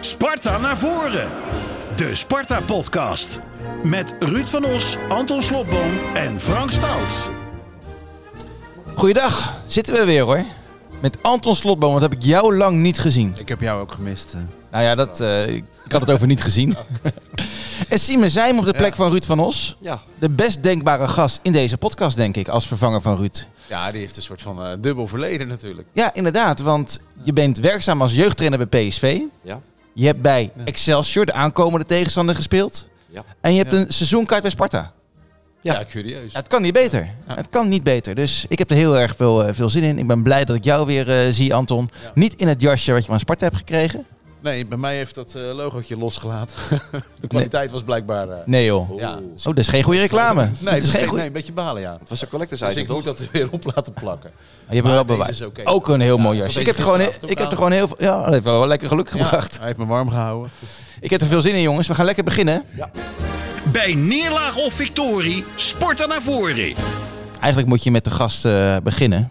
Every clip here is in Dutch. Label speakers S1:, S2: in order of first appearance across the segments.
S1: Sparta naar voren. De Sparta Podcast. Met Ruud van Os, Anton Slobboom en Frank Stout.
S2: Goeiedag, zitten we weer hoor. Met Anton Slotboom, want heb ik jou lang niet gezien.
S3: Ik heb jou ook gemist. eh.
S2: Nou ja, dat, eh, ik had het over niet gezien. en Simon Zijm op de plek van Ruud van Os.
S3: Ja.
S2: De best denkbare gast in deze podcast, denk ik, als vervanger van Ruud.
S3: Ja, die heeft een soort van eh, dubbel verleden natuurlijk.
S2: Ja, inderdaad, want je bent werkzaam als jeugdtrainer bij PSV.
S3: Ja.
S2: Je hebt bij Excelsior, de aankomende tegenstander, gespeeld.
S3: Ja.
S2: En je hebt
S3: Ja.
S2: een seizoenkaart bij Sparta.
S3: Ja, curieus.
S2: Ja, het kan niet beter. Het kan niet beter. Dus ik heb er heel erg veel, eh, veel zin in. Ik ben blij dat ik jou weer eh, zie, Anton.
S3: Ja.
S2: Niet in het jasje wat je van Sparta hebt gekregen.
S3: Nee, bij mij heeft dat eh, logootje losgelaten. De kwaliteit was blijkbaar... eh,
S2: Nee joh. Oh,
S3: ja.
S2: dat is geen goede reclame.
S3: Nee, dat is geen,
S2: goeie-
S3: nee, een beetje balen, ja.
S4: Het was een collectors
S3: Dus
S4: item,
S3: ik moet dat er weer op laten plakken.
S2: Oh, Je hebt me wel
S3: Maar deze
S2: bewijs.
S3: is oké.
S2: Ook een heel
S3: Ja,
S2: mooi
S3: ik
S2: jasje.
S3: had
S2: Ik heb, er
S3: deze
S2: gewoon,
S3: gisteravond
S2: ik heb
S3: ook
S2: er gewoon heel veel... Ja, dat heeft wel lekker geluk gebracht.
S3: Ja, hij heeft me warm gehouden.
S2: Ik heb er veel zin in jongens. We gaan lekker beginnen.
S1: Bij neerlaag of victorie, Sparta naar voren.
S2: Eigenlijk moet je met de gast eh, beginnen.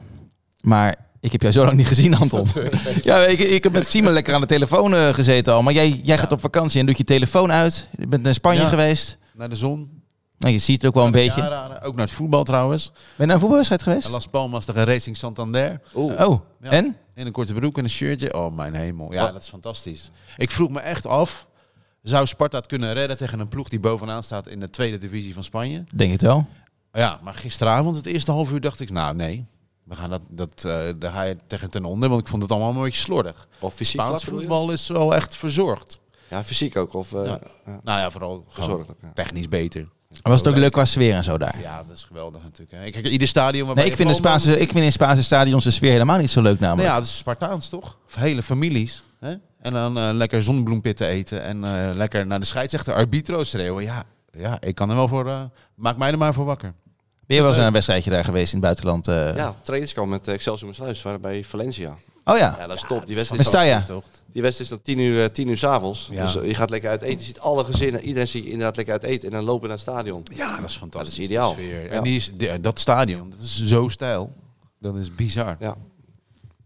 S2: Maar ik heb jou zo lang niet gezien, Anton. ja, ik, ik heb met Simon lekker aan de telefoon eh, gezeten al. Maar jij, jij gaat op vakantie en doet je telefoon uit. Je bent naar Spanje
S3: Ja.
S2: geweest.
S3: Naar de zon.
S2: Nou, je ziet het ook wel een
S3: Naar de
S2: beetje. Ben
S3: Jara, Ook naar het voetbal trouwens.
S2: je naar een voetbalwedstrijd geweest?
S3: En Las Palmas tegen Racing Santander.
S2: Oh,
S3: Ja.
S2: en?
S3: In een korte broek en een shirtje. Oh, mijn hemel. Ja, dat is fantastisch. Ik vroeg me echt af... Zou Sparta het kunnen redden tegen een ploeg die bovenaan staat in de tweede divisie van Spanje?
S2: Denk het wel.
S3: Ja, maar gisteravond, het eerste half uur, dacht ik, nou nee, we gaan dat, dat, eh, daar ga je tegen ten onder, want ik vond het allemaal een beetje slordig.
S4: Of fysiek
S3: Spaans
S4: vlak bedoel je?
S3: voetbal is wel echt verzorgd.
S4: Ja, fysiek ook. Of, eh,
S3: Ja.
S4: ja.
S3: Nou ja, vooral gewoon
S4: Verzorgd ook, ja.
S3: technisch beter.
S2: Maar was het ook leuk qua sfeer en zo daar?
S3: Ja, dat is geweldig natuurlijk. Hè. Kijk, ieder stadion... waarbij
S2: Nee, ik
S3: je
S2: vind, de
S3: voetbal-
S2: Spaanse, ik vind in Spaanse stadions de sfeer helemaal niet zo leuk namelijk.
S3: Nou ja, het is Spartaans toch? Of hele families. Hè? En dan eh, lekker zonnebloempitten eten en eh, lekker naar de scheidsrechter arbitro schreeuwen. Ja, ja, ik kan er wel voor... eh, maak mij er maar voor wakker.
S2: Ben je wel eens naar een wedstrijdje daar geweest in het buitenland? eh?
S4: ja, trainingskamp met eh, Excelsior Sluis waren bij Valencia.
S2: Oh ja.
S4: Ja, dat is top. Die
S2: Met
S4: wedstrijd is,
S2: Sta- Staya.
S3: toch?
S4: die wedstrijd is dan tien uur, eh, tien uur s'avonds.
S3: Ja.
S4: Dus eh, je gaat lekker uit eten. Je ziet alle gezinnen. Iedereen ziet je inderdaad lekker uit eten. En dan lopen we naar het stadion.
S3: Ja, dat is fantastisch.
S4: Dat is ideaal.
S3: die sfeer.
S4: Ja.
S3: En die is, die- dat stadion, dat is zo stijl. Dat is bizar.
S4: Ja.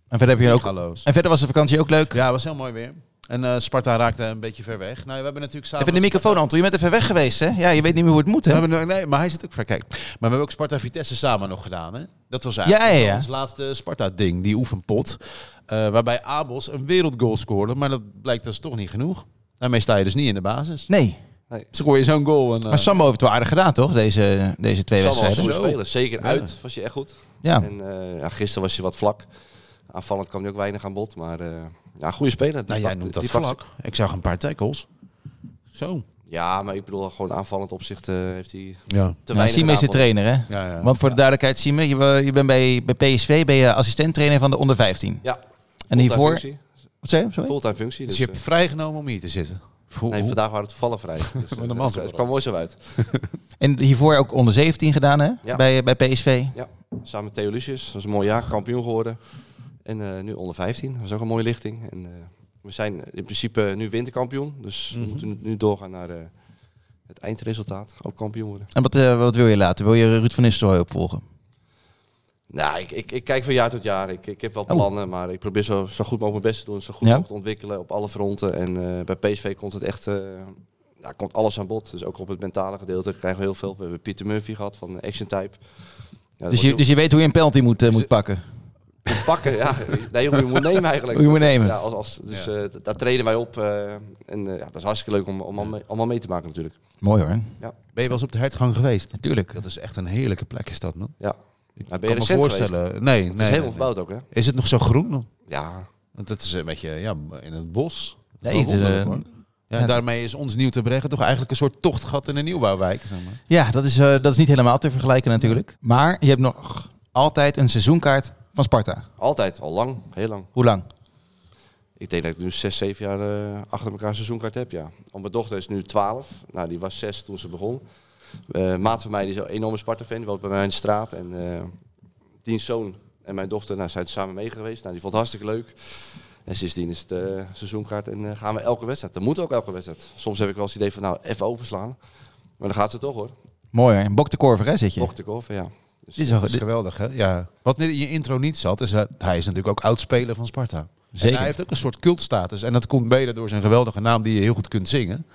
S2: En verder, heb je ook,
S3: Galoos.
S2: en verder was de vakantie ook leuk.
S3: Ja, was heel mooi weer. En eh, Sparta raakte een beetje ver weg. Nou, we hebben natuurlijk samen...
S2: Even de microfoon, Anton. Je bent even weg geweest, hè? Ja, je weet niet meer hoe het moet,
S3: We
S2: hè?
S3: hebben, nee, maar hij zit ook ver. Kijk, maar we hebben ook Sparta-Vitesse samen nog gedaan, hè? Dat was
S2: Ja,
S3: eigenlijk
S2: ja, ja.
S3: ons laatste Sparta-ding, die oefenpot. eh, waarbij Abels een wereldgoal scoorde, maar dat blijkt dus toch niet genoeg. Daarmee sta je dus niet in de basis.
S2: Nee.
S3: Scoor je zo'n goal en... eh,
S2: Maar Sambo heeft het wel aardig gedaan, toch? Deze, deze twee
S4: Sam was een
S2: wedstrijden.
S4: goede
S3: Zo.
S4: speler. Zeker
S3: Ja.
S4: uit was je echt goed.
S2: Ja.
S4: En eh, ja, gisteren was hij wat vlak. Aanvallend kwam hij ook weinig aan bod. Maar eh, ja, goede speler. Die
S3: nou, jij
S4: pakt-
S3: noemt dat
S4: die pakt-
S3: vlak. Ik zag een paar tackles. Zo.
S4: Ja, maar ik bedoel gewoon aanvallend opzicht eh, heeft hij
S3: Ja.
S4: te
S2: Nou,
S4: weinig
S2: Sime is de
S4: gedaan.
S2: trainer, hè?
S3: Ja, ja.
S2: Want voor de duidelijkheid, Sime, je, wa- je bent bij, bij PSV ben je assistent-trainer van de onder 15.
S4: Ja.
S2: En
S4: Fulltime
S2: hiervoor...
S4: functie.
S2: Wat zei je? Sorry?
S4: Fulltime functie.
S3: Dus
S4: Dus,
S3: je
S4: eh,
S3: hebt vrijgenomen om hier te zitten. Hoe-
S4: Nee,
S3: hoe-
S4: vandaag waren het vallen vrij. Dus, eh,
S3: normaal
S4: het,
S3: zo
S4: het kwam mooi zo uit.
S2: En hiervoor ook onder 17 gedaan, hè?
S4: Ja.
S2: Bij, bij PSV.
S4: Ja, samen met Theo Lucius. Dat was een mooi jaar, kampioen geworden. En eh, nu onder 15. Dat is ook een mooie lichting. En, eh, we zijn in principe nu winterkampioen. Dus
S2: Mhm.
S4: we moeten nu- nu doorgaan naar eh, het eindresultaat. Ook kampioen worden.
S2: En wat, eh, wat wil je laten? Wil je Ruud van Nistelrooy opvolgen?
S4: Nou, ik, ik, ik kijk van jaar tot jaar. Ik, ik heb wel
S2: Oh.
S4: plannen, maar ik probeer zo, zo goed mogelijk mijn best te doen. Zo goed
S2: Ja.
S4: mogelijk te ontwikkelen op alle fronten. En eh, bij PSV komt het echt... eh, nou, komt alles aan bod. Dus ook op het mentale gedeelte krijgen we heel veel. We hebben Pieter Murphy gehad van Action Type. Ja, dat
S2: Dus je,
S4: wordt-
S2: dus je weet hoe je een penalty moet, eh, moet pakken.
S4: pakken, ja. Nee, hoe je moet nemen eigenlijk.
S2: Hoe je moet nemen.
S4: Ja, als, als, dus
S3: Ja.
S4: eh, d- daar treden wij op. eh, en eh, ja, dat is hartstikke leuk om, om allemaal mee- allemaal mee te maken natuurlijk.
S2: Mooi hoor.
S3: Ben je wel eens op de hertgang geweest?
S2: Natuurlijk.
S3: Dat is echt een heerlijke plek is dat, man.
S4: Ja. Maar ben
S3: Ik
S4: je
S3: kan me
S4: recent voorstellen.
S3: voorstellen. Nee,
S4: Het
S3: nee,
S4: is
S3: nee,
S4: helemaal
S3: nee.
S4: verbouwd ook, hè?
S3: Is het nog zo groen dan?
S4: Ja.
S3: Want dat is een beetje ja, in het bos.
S2: Nee,
S3: Wel
S2: het is, eh,
S3: wonderlijk, hoor. ja,
S2: ja.
S3: daarmee is ons nieuw te brengen toch eigenlijk een soort tochtgat in een nieuwbouwwijk. Zeg maar.
S2: Ja, dat is, eh, dat is niet helemaal te vergelijken natuurlijk. Maar je hebt nog altijd een seizoenkaart van Sparta.
S4: Altijd, al lang. Heel lang.
S2: Hoe lang?
S4: Ik denk dat ik nu 6, 7 jaar eh, achter elkaar een seizoenkaart heb, ja. Want mijn dochter is nu 12. Nou, die was 6 toen ze begon. Eh maat van mij die is een enorme Sparta-fan. Die woont bij mij in de straat. En eh diens zoon en mijn dochter nou, zijn samen mee geweest. Nou, die vond het hartstikke leuk. En sindsdien is het eh, seizoenkaart en eh, gaan we elke wedstrijd. Dat moet ook elke wedstrijd. Soms heb ik wel eens het idee van, nou, even overslaan. Maar dan gaat ze toch, hoor.
S2: Mooi hoor. Bok de Korver hè, zit je.
S4: Mocht ik over, ja.
S2: Dit is wel-
S3: Dat is
S2: dit-
S3: geweldig, hè? Ja. Wat in je intro niet zat, is dat hij is natuurlijk ook oud-speler van Sparta.
S2: Zeker.
S3: En hij heeft ook een soort cultstatus. En dat komt mede door zijn geweldige naam die je heel goed kunt zingen.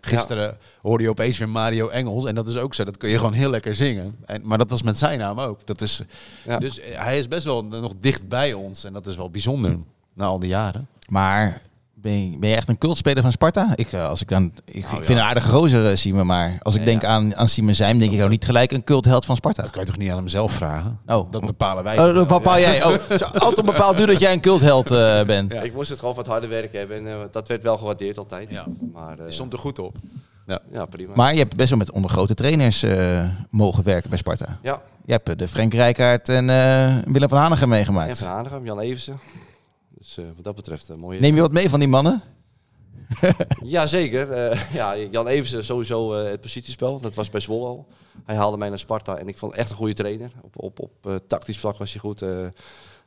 S3: Gisteren hoorde je opeens weer Mario Engels. En dat is ook zo. Dat kun je gewoon heel lekker zingen. En, maar dat was met zijn naam ook. Dat is,
S4: Ja.
S3: Dus eh, hij is best wel nog dicht bij ons. En dat is wel bijzonder. Na al die jaren.
S2: Maar ben je, ben je echt een cultspeler van Sparta? Ik, eh, als ik, dan, ik, ik vind een aardige gozer, eh, Siemen. Maar als ik
S3: Ja,
S2: denk
S3: ja.
S2: aan, aan Siemen Zijm, denk ik ook niet gelijk een cultheld van Sparta.
S3: Dat kan je toch niet aan hem zelf vragen?
S2: Oh.
S3: Dat bepalen wij.
S2: Oh, dat bepaal jij. Oh, zo, Anton bepaalt nu dat jij een cultheld eh, bent.
S4: Ik moest het gewoon wat harder werk hebben en eh, dat werd wel gewaardeerd altijd.
S3: Ja.
S4: Maar eh,
S3: Je stond er goed op.
S4: ja, prima.
S2: Maar je hebt best wel met ondergrote trainers eh, mogen werken bij Sparta.
S4: ja,
S2: Je hebt eh, de Frank Rijkaard en eh, Willem van Hanegem
S4: en
S2: meegemaakt.
S4: van Hanegem, Jan Eversen. Dus eh, wat dat betreft een mooie...
S2: Neem je wat mee van die mannen?
S4: Jazeker. Eh, ja, Jan Eversen sowieso eh, het positiespel. Dat was bij Zwolle al. Hij haalde mij naar Sparta en ik vond hem echt een goede trainer. Op, op, op eh, tactisch vlak was hij goed. eh.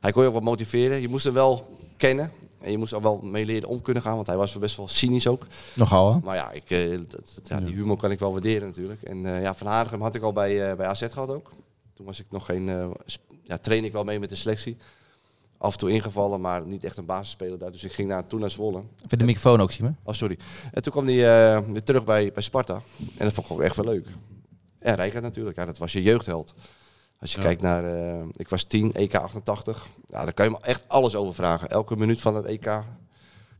S4: hij kon je ook wat motiveren. Je moest hem wel kennen. En je moest er wel mee leren om kunnen gaan, want hij was best wel cynisch ook.
S2: Nogal, hè?
S4: Maar ja, ik, eh, dat- dat- ja, die humor kan ik wel waarderen natuurlijk. En eh, ja, Van Aardigem had ik al bij, eh, bij AZ gehad ook. Toen was ik nog geen... eh, sp- ja, train ik wel mee met de selectie. Af en toe ingevallen, maar niet echt een basisspeler daar. Dus ik ging naar, toen naar Zwolle.
S2: Even de microfoon ook, Siemen.
S4: Oh, sorry. En toen kwam hij eh, weer terug bij, bij Sparta. En dat vond ik ook echt wel leuk. En Rijkaard natuurlijk. Ja, dat was je jeugdheld. Als je
S3: Ja.
S4: kijkt naar... eh, ik was 10, EK 88. Ja, daar kan je me echt alles over vragen. Elke minuut van het EK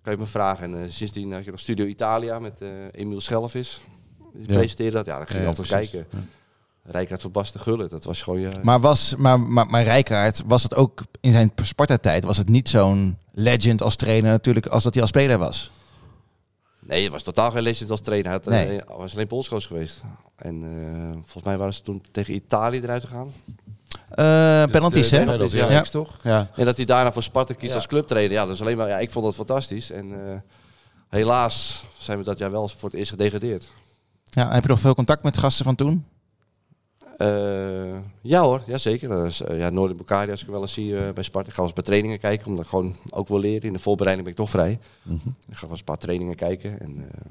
S4: kan je me vragen. En eh, sindsdien had je nog Studio Italia met eh Emiel Schelvis. Die
S3: Ja.
S4: presenteerde dat. Ja, daar ging je
S3: Ja,
S4: altijd
S3: precies.
S4: kijken. Rijkaard van Basten Gullen. Dat was gewoon eh, je...
S2: Maar, was, maar, maar, maar Rijkaard, was het ook in zijn Sparta-tijd, was het niet zo'n legend als trainer natuurlijk als dat hij als speler was?
S4: Nee, het was totaal geen legend als trainer. Hij had, eh,
S2: Nee.
S4: was alleen Polscoach geweest. En eh, volgens mij waren ze toen tegen Italië eruit gegaan.
S2: Eh penalties, hè?
S4: penalties,
S3: ja.
S4: ja.
S3: Reeks, toch? Ja.
S4: En dat hij daarna voor Sparta kiest
S3: Ja.
S4: als clubtrainer. Ja, dat is alleen maar, ja, ik vond dat fantastisch. En eh, helaas zijn we dat jaar wel voor het eerst gedegradeerd.
S2: Ja, heb je nog veel contact met gasten van toen?
S4: Eh, ja hoor, ja zeker. Dat is, eh, ja, Noord in Bukhari, als ik hem wel eens zie eh, bij Sparta. Ik ga wel eens bij trainingen kijken, omdat ik gewoon ook wil leren. In de voorbereiding ben ik toch vrij.
S3: Mhm.
S4: Ik ga wel eens een paar trainingen kijken. En, eh,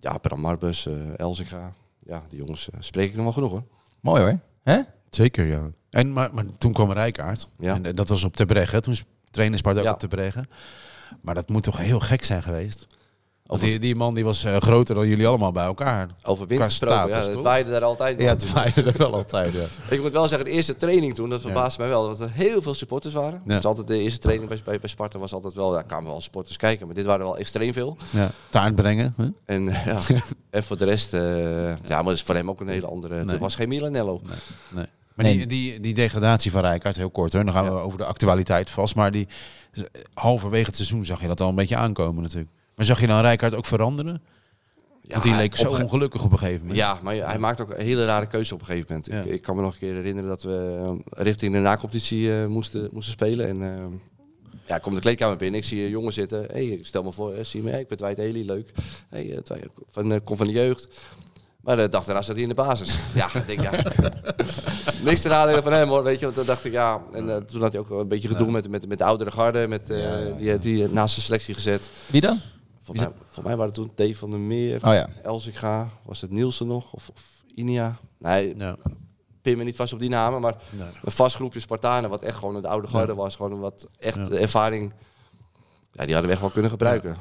S4: ja, Bram Marbus, eh Elzinga. Ja, die jongens eh, spreek ik nog wel genoeg hoor.
S2: Mooi hoor. Hè?
S3: Zeker, ja. En, maar, maar toen kwam Rijkaard.
S4: Ja.
S3: En eh, dat was op Tebrege. Toen is- trainde Sparta ook
S4: Ja.
S3: op Tebrege. Maar dat moet toch heel gek zijn geweest? Want die, die man die was eh, groter dan jullie allemaal bij elkaar.
S4: Over wind
S3: Qua
S4: gesproken,
S3: status,
S4: ja,
S3: toch?
S4: het waaide daar altijd
S3: Ja,
S4: nog.
S3: het waren er wel altijd. Ja.
S4: Ik moet wel zeggen, de eerste training toen, dat verbaasde mij wel. Dat er heel veel supporters waren.
S3: Ja.
S4: Dus altijd de eerste training bij, bij, bij Sparta was altijd wel, daar kwamen wel supporters kijken. Maar dit waren er wel extreem veel.
S3: Ja. Taart brengen. hè?
S4: En, eh, ja. en voor de rest, eh, ja, maar dat is voor hem ook een hele andere. Het
S3: Nee.
S4: was geen Milanello.
S3: Nee. Maar
S2: Nee.
S3: Die, die, die degradatie van Rijkaard, heel kort hoor. Dan gaan we over de actualiteit vast. Maar die, halverwege het seizoen zag je dat al een beetje aankomen natuurlijk. Maar zag je dan Rijkaard ook veranderen?
S4: Ja,
S3: Want die leek
S4: op
S3: zo
S4: een ge-
S3: ongelukkig op een gegeven moment.
S4: Ja, maar hij maakt ook een hele rare keuze op een gegeven moment.
S3: Ja.
S4: Ik, ik kan me nog een keer herinneren dat we eh, richting de nacompetitie eh, moesten, moesten spelen. En eh ja, ik kom de kleedkamer binnen, ik zie een jongen zitten. Hey, ik stel me voor, eh, zie me, hey, ik ben Dwight Haley, leuk. Hey, eh, Dwight, van, eh, kom van de jeugd. Maar de dag daarna zat hij in de basis. Ja, ik denk ja. Niks te nadelen van hem hoor, weet je. Want dan dacht ik ja. En eh, toen had hij ook wel een beetje gedoe met, met, met de oudere garde. Met, eh, Die, die naast de selectie gezet.
S2: Wie dan?
S4: Volgens mij, volgens mij waren het toen Dave van der Meer.
S2: Oh ja.
S4: Elsinga, was het Nielsen nog? Of, of Inia? Nee,
S3: Ja.
S4: pin me niet vast op die namen, maar
S3: Nee.
S4: een vast groepje Spartanen, wat echt gewoon het oude garde was. Gewoon wat echt
S3: Ja.
S4: de ervaring, ja, die hadden we echt wel kunnen gebruiken.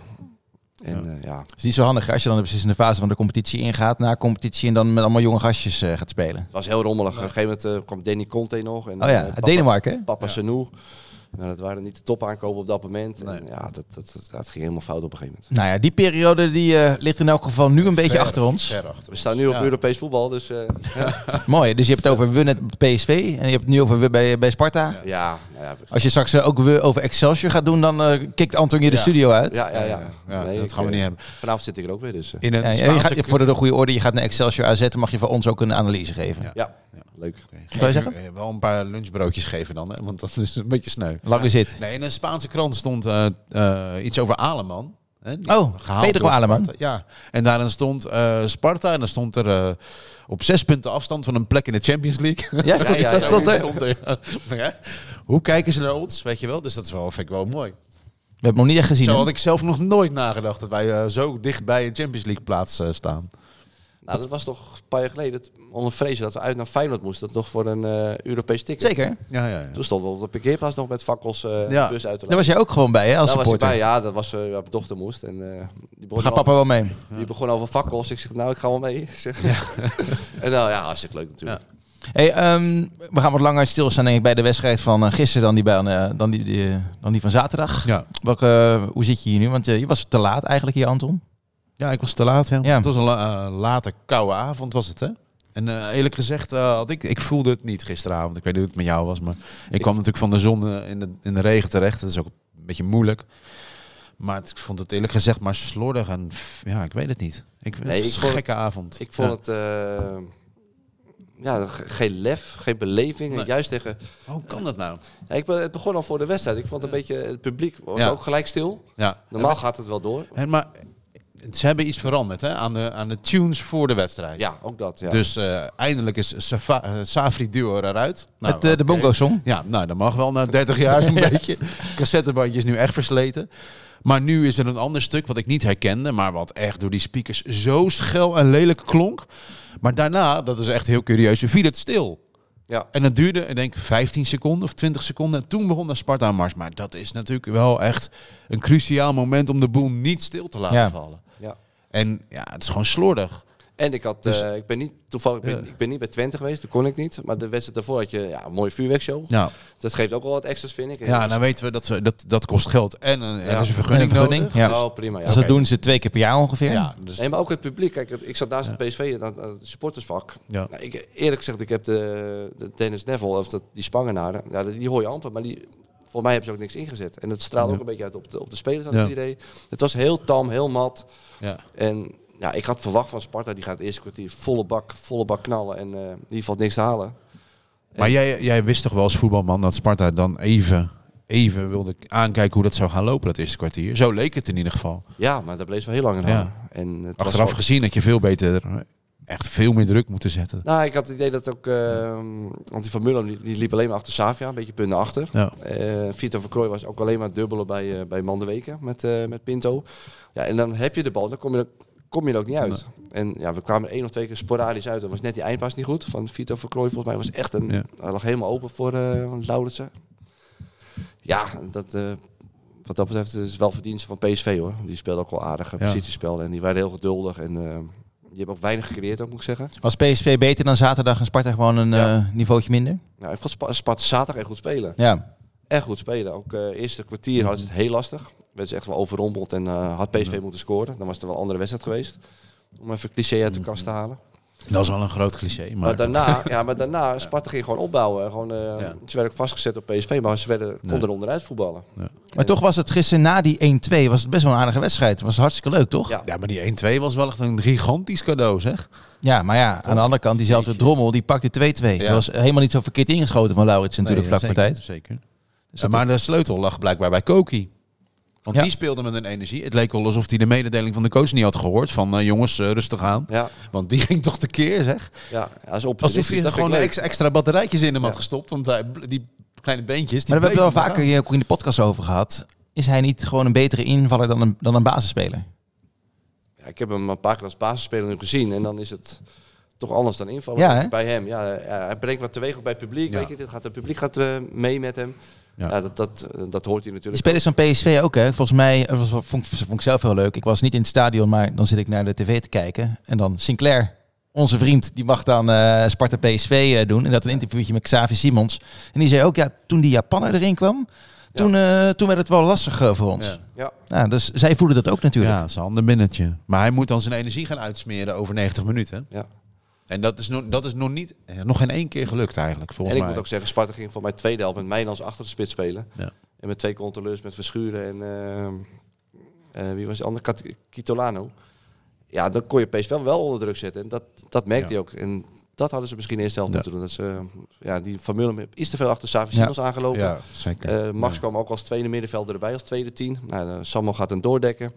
S4: En eh, ja,
S2: Het is niet zo handig hè, als je dan precies in de fase van de competitie ingaat, na competitie en dan met allemaal jonge gastjes eh, gaat spelen.
S4: het was heel rommelig. Op een gegeven moment eh, kwam Danny Conte nog. En,
S2: Oh ja,
S4: eh,
S2: uit
S4: papa-
S2: Denemarken. hè?
S4: Papa
S3: Ja.
S4: Sanou. Nou, dat waren niet de topaankopen op dat moment. En,
S3: Nee.
S4: ja, dat, dat, dat, dat ging helemaal fout op een gegeven moment.
S2: Nou ja, die periode die, eh, ligt in elk geval nu een beetje achter ons.
S3: Ver achter
S4: We staan nu op
S3: Ja.
S4: Europees voetbal, dus eh,
S2: Mooi, dus je hebt het over we net PSV en je hebt het nu over we bij, bij Sparta.
S4: ja, nou ja,
S2: Als je straks eh, ook we over Excelsior gaat doen, dan eh, kikt Anton je de
S3: Ja.
S2: studio uit.
S4: ja, ja, ja.
S3: Ja,
S4: Nee,
S3: dat
S4: ik,
S3: gaan we
S4: eh,
S3: niet hebben.
S4: Vanavond zit ik er ook weer, dus eh,
S3: In een
S2: Ja, ja, je
S3: Spaanse
S2: gaat, voor de, goede orde, je gaat naar Excelsior AZ, dan mag je voor ons ook een analyse geven.
S3: Ja.
S4: ja, leuk.
S2: Wat wou je zeggen?
S3: Eh, Wel een paar lunchbroodjes geven dan, hè? want dat is een beetje sneu.
S2: Lange zit.
S3: Nee, in een Spaanse krant stond eh, eh, iets over Aleman. Hè? Die
S2: Oh,
S3: gehaald
S2: Pedro
S3: door Sparta.
S2: Aleman.
S3: Ja, en daarin stond eh, Sparta en dan stond er eh, op zes punten afstand van een plek in de Champions League.
S2: Ja, stond- dat stond er.
S3: er. Ja. Hoe kijken ze naar ons, weet je wel? Dus dat is wel, vind ik wel mooi.
S2: We hebben hem nog niet echt gezien.
S3: Zo
S2: hè?
S3: had ik zelf nog nooit nagedacht dat wij eh, zo dicht bij een Champions League plaats eh, staan.
S4: Nou, dat was toch een paar jaar geleden, dat- onder vrezen dat we uit naar Feyenoord moesten. Dat nog voor een eh, Europees ticket.
S2: Zeker.
S3: Ja, ja, ja.
S4: Toen stonden we op de parkeerplaats nog met fakkels eh
S3: Ja.
S4: bus uit te
S2: Daar
S4: laten.
S2: was jij ook gewoon bij, hè, als
S4: Daar was ik
S2: supporter.
S4: bij, ja, dat was eh, waar mijn dochter moest. En, eh, die begon
S2: Gaat
S4: al-
S2: papa wel mee?
S4: Die begon over fakkels. Ik zeg, nou, ik ga wel mee. Ik zeg. en nou, ja, hartstikke leuk natuurlijk.
S2: Hey, ehm, we gaan wat langer stilstaan denk ik, bij de wedstrijd van eh, gisteren dan die, bij, eh, dan, die, die, dan die van zaterdag.
S3: Ja.
S2: Welke, eh, hoe zit je hier nu? Want eh, je was te laat eigenlijk hier, Anton.
S3: ja, ik was te laat. Ja.
S2: Ja.
S3: Het was een la- eh, late koude avond, was het hè? En eh, eerlijk gezegd, eh, had ik, ik voelde het niet gisteravond. Ik weet niet hoe het met jou was, maar ik kwam natuurlijk van de zon eh, in, de, in de regen terecht. Dat is ook een beetje moeilijk. Maar het- ik vond het eerlijk gezegd maar slordig. En f- ja, ik weet het niet. Ik, het
S4: Nee,
S3: was
S4: ik
S3: een
S4: vond-
S3: gekke avond.
S4: Ik vond
S3: Ja.
S4: het... eh, ja, ge- geen lef, geen beleving.
S3: Nee.
S4: En juist tegen...
S3: Hoe kan dat nou?
S4: Ja, ik, be- het begon al voor de wedstrijd. Ik vond een beetje... Het publiek was
S3: Ja.
S4: ook gelijk stil.
S3: Ja.
S4: Normaal gaat het wel door.
S3: En maar ze hebben iets veranderd hè? Aan, de, aan de tunes voor de wedstrijd.
S4: Ja, ook dat. Ja.
S3: Dus eh, eindelijk is Safa, eh, Safri Duo eruit. Nou,
S2: Met eh, de
S3: oké.
S2: bongo-song.
S3: Ja, nou dat mag wel na 30 jaar zo'n beetje. Cassettebandje is nu echt versleten. Maar nu is er een ander stuk wat ik niet herkende, maar wat echt door die speakers zo schel en lelijk klonk. Maar daarna, dat is echt heel curieus, viel het stil.
S4: ja.
S3: En dat duurde, ik denk, 15 seconden of 20 seconden. En toen begon de Sparta Mars. Maar dat is natuurlijk wel echt een cruciaal moment om de boel niet stil te laten
S2: Ja.
S3: vallen.
S4: ja.
S3: En ja, het is gewoon slordig.
S4: En ik had,
S3: Dus-
S4: eh, ik ben niet toevallig, ik ben,
S3: Ja.
S4: ik ben niet bij Twente geweest, dat kon ik niet. Maar de wedstrijd daarvoor had je ja, een mooie vuurwerkshow.
S3: Ja,
S4: Dat geeft ook wel wat extra's, vind ik. Dus-
S3: ja nou weten we dat, we dat dat kost geld en een, er is een
S2: En een
S3: vergunning,
S2: vergunning.
S3: nodig.
S2: Ja.
S4: Oh, prima. Ja.
S2: Dus dat doen ze twee keer per jaar ongeveer.
S3: Ja, dus
S4: Nee, maar ook het publiek. Kijk, ik zat naast het PSV, aan het aan het supportersvak.
S3: Ja.
S4: Nou, ik, eerlijk gezegd, ik heb de, de Dennis Neville, of dat, die Spangenaren, ja, die hoor je amper, maar die, voor mij hebben ze ook niks ingezet. En dat straalde
S3: Ja.
S4: ook een beetje uit op de, op de spelers, had
S3: Ja.
S4: ik het idee. Het was heel tam, heel mat.
S3: ja.
S4: En ja, ik had verwacht van Sparta, die gaat het eerste kwartier volle bak, volle bak knallen en eh die valt niks te halen.
S3: Maar jij, jij wist toch wel als voetbalman dat Sparta dan even, even wilde aankijken hoe dat zou gaan lopen, dat eerste kwartier. Zo leek het in ieder geval.
S4: Ja, maar daar bleef ze wel heel lang in
S3: Ja.
S4: hangen. En het was
S3: Achteraf
S4: wel-
S3: gezien dat je veel beter, eh, echt veel meer druk moeten zetten.
S4: Nou, ik had het idee dat ook... eh, want die Van Mullen die, die liep alleen maar achter Savia, een beetje punten achter.
S3: Ja.
S4: Eh, Vito van Krooi was ook alleen maar dubbelen bij, eh, bij Mandeweken met, eh, met Pinto. Ja, en dan heb je de bal, dan kom je er, kom je er ook niet uit. En ja, we kwamen er één of twee keer sporadisch uit. Dat was net die eindpas niet goed van Vito van Krooi. Volgens mij was echt een...
S3: Ja.
S4: Hij lag helemaal open voor eh Lauritsen. Ja, dat, eh, wat dat betreft is het wel verdienste van PSV hoor. Die speelde ook wel aardige
S3: Ja.
S4: positiespel en die waren heel geduldig. En eh, die hebben ook weinig gecreëerd, ook moet ik zeggen.
S2: Was PSV beter dan zaterdag en Sparta gewoon een
S4: Ja.
S2: eh, niveautje minder?
S4: Nou, ik vond Spa- Sparta zaterdag echt goed spelen.
S2: Ja.
S4: Echt goed spelen. Ook eh eerste kwartier hadden ze het heel lastig. Werd ze echt wel overrompeld en eh, had PSV moeten scoren. Dan was er wel een andere wedstrijd geweest. Om even cliché uit de kast te
S3: Mm-hmm.
S4: halen.
S3: Dat is wel een groot cliché, maar,
S4: Maar, daarna, ja, maar daarna, Sparta ging gewoon opbouwen. Gewoon, eh,
S3: Ja.
S4: Ze werden ook vastgezet op PSV, maar ze werden, konden er onderuit voetballen.
S2: Maar toch was het gisteren na die 1-2 was het best wel een aardige wedstrijd. Was hartstikke leuk, toch?
S4: Ja.
S3: ja, maar die 1-2 was wel echt een gigantisch cadeau, zeg.
S2: Ja, maar ja, aan de andere kant, diezelfde drommel, die pakte 2-2. Dat
S3: Ja.
S2: was helemaal niet zo verkeerd ingeschoten van Laurits natuurlijk
S3: Nee,
S2: vlak voor
S3: zeker,
S2: tijd.
S3: Zeker.
S2: Dus
S3: Ja,
S2: dat-
S3: maar de sleutel lag blijkbaar bij Koki. Want
S2: Ja.
S3: die speelde met een energie. Het leek wel alsof hij de mededeling van de coach niet had gehoord. Van eh, jongens, eh, rustig aan.
S4: Ja,
S3: Want die ging toch tekeer, zeg.
S4: ja. dus Als
S3: Alsof je er gewoon ex- extra batterijtjes in hem had
S4: Ja.
S3: gestopt. Want hij bl- die kleine beentjes... Die
S2: Maar daar hebben we
S3: bleven
S2: wel vaker
S3: maar
S2: hier ook in de podcast over gehad. Is hij niet gewoon een betere invaller dan een, dan een basisspeler?
S4: Ja, ik heb hem een paar keer als basisspeler nu gezien en dan is het toch anders dan invallen
S2: Ja, hè?
S4: bij hem. Ja, eh, hij brengt wat teweeg ook bij het publiek.
S3: Ja.
S4: Weet je, dit gaat, het publiek gaat eh, mee met hem.
S3: Ja.
S4: Ja. dat, dat, eh, dat hoort hij
S2: De
S4: natuurlijk.
S2: spelers van PSV ook, hè? Volgens mij, eh, was- vond, ik- vond ik zelf heel leuk. Ik was niet in het stadion, maar dan zit ik naar de tv te kijken. En dan Sinclair, onze vriend, die mag dan eh, Sparta PSV eh, doen. En dat een interviewtje met Xavi Simons. En die zei ook, ja, toen die Japaner erin kwam, toen, eh, toen werd het wel lastig eh, voor ons.
S3: Ja.
S4: Ja.
S2: Nou, dus zij voelen dat ook natuurlijk.
S3: Ja, zijn handen binnetje. Maar hij moet dan zijn energie gaan uitsmeren over 90 minuten.
S4: Ja.
S3: En dat is, nog dat is nog niet... eh, nog geen één keer gelukt eigenlijk,
S4: En
S3: volgens
S4: ik
S3: mij.
S4: moet ook zeggen, Sparta ging voor mij tweede helft met Mijnans achter de spits spelen.
S3: Ja.
S4: En met twee controleurs, met Verschuren en eh, eh, wie was de andere? Kat- Kitolano. Ja, dan kon je PSV wel, wel onder druk zetten. En dat, dat merkte
S3: Ja.
S4: hij ook. En dat hadden ze misschien eerst zelf
S3: Ja.
S4: moeten doen. Dat ze, eh, ja, die Van Mullen is te veel achter Savi
S2: Ja.
S4: Simons aangelopen.
S3: Ja, zeker.
S4: Eh, Max
S3: Ja.
S4: kwam ook als tweede middenvelder erbij, als tweede tien. Nou, eh, Samuel gaat hem doordekken.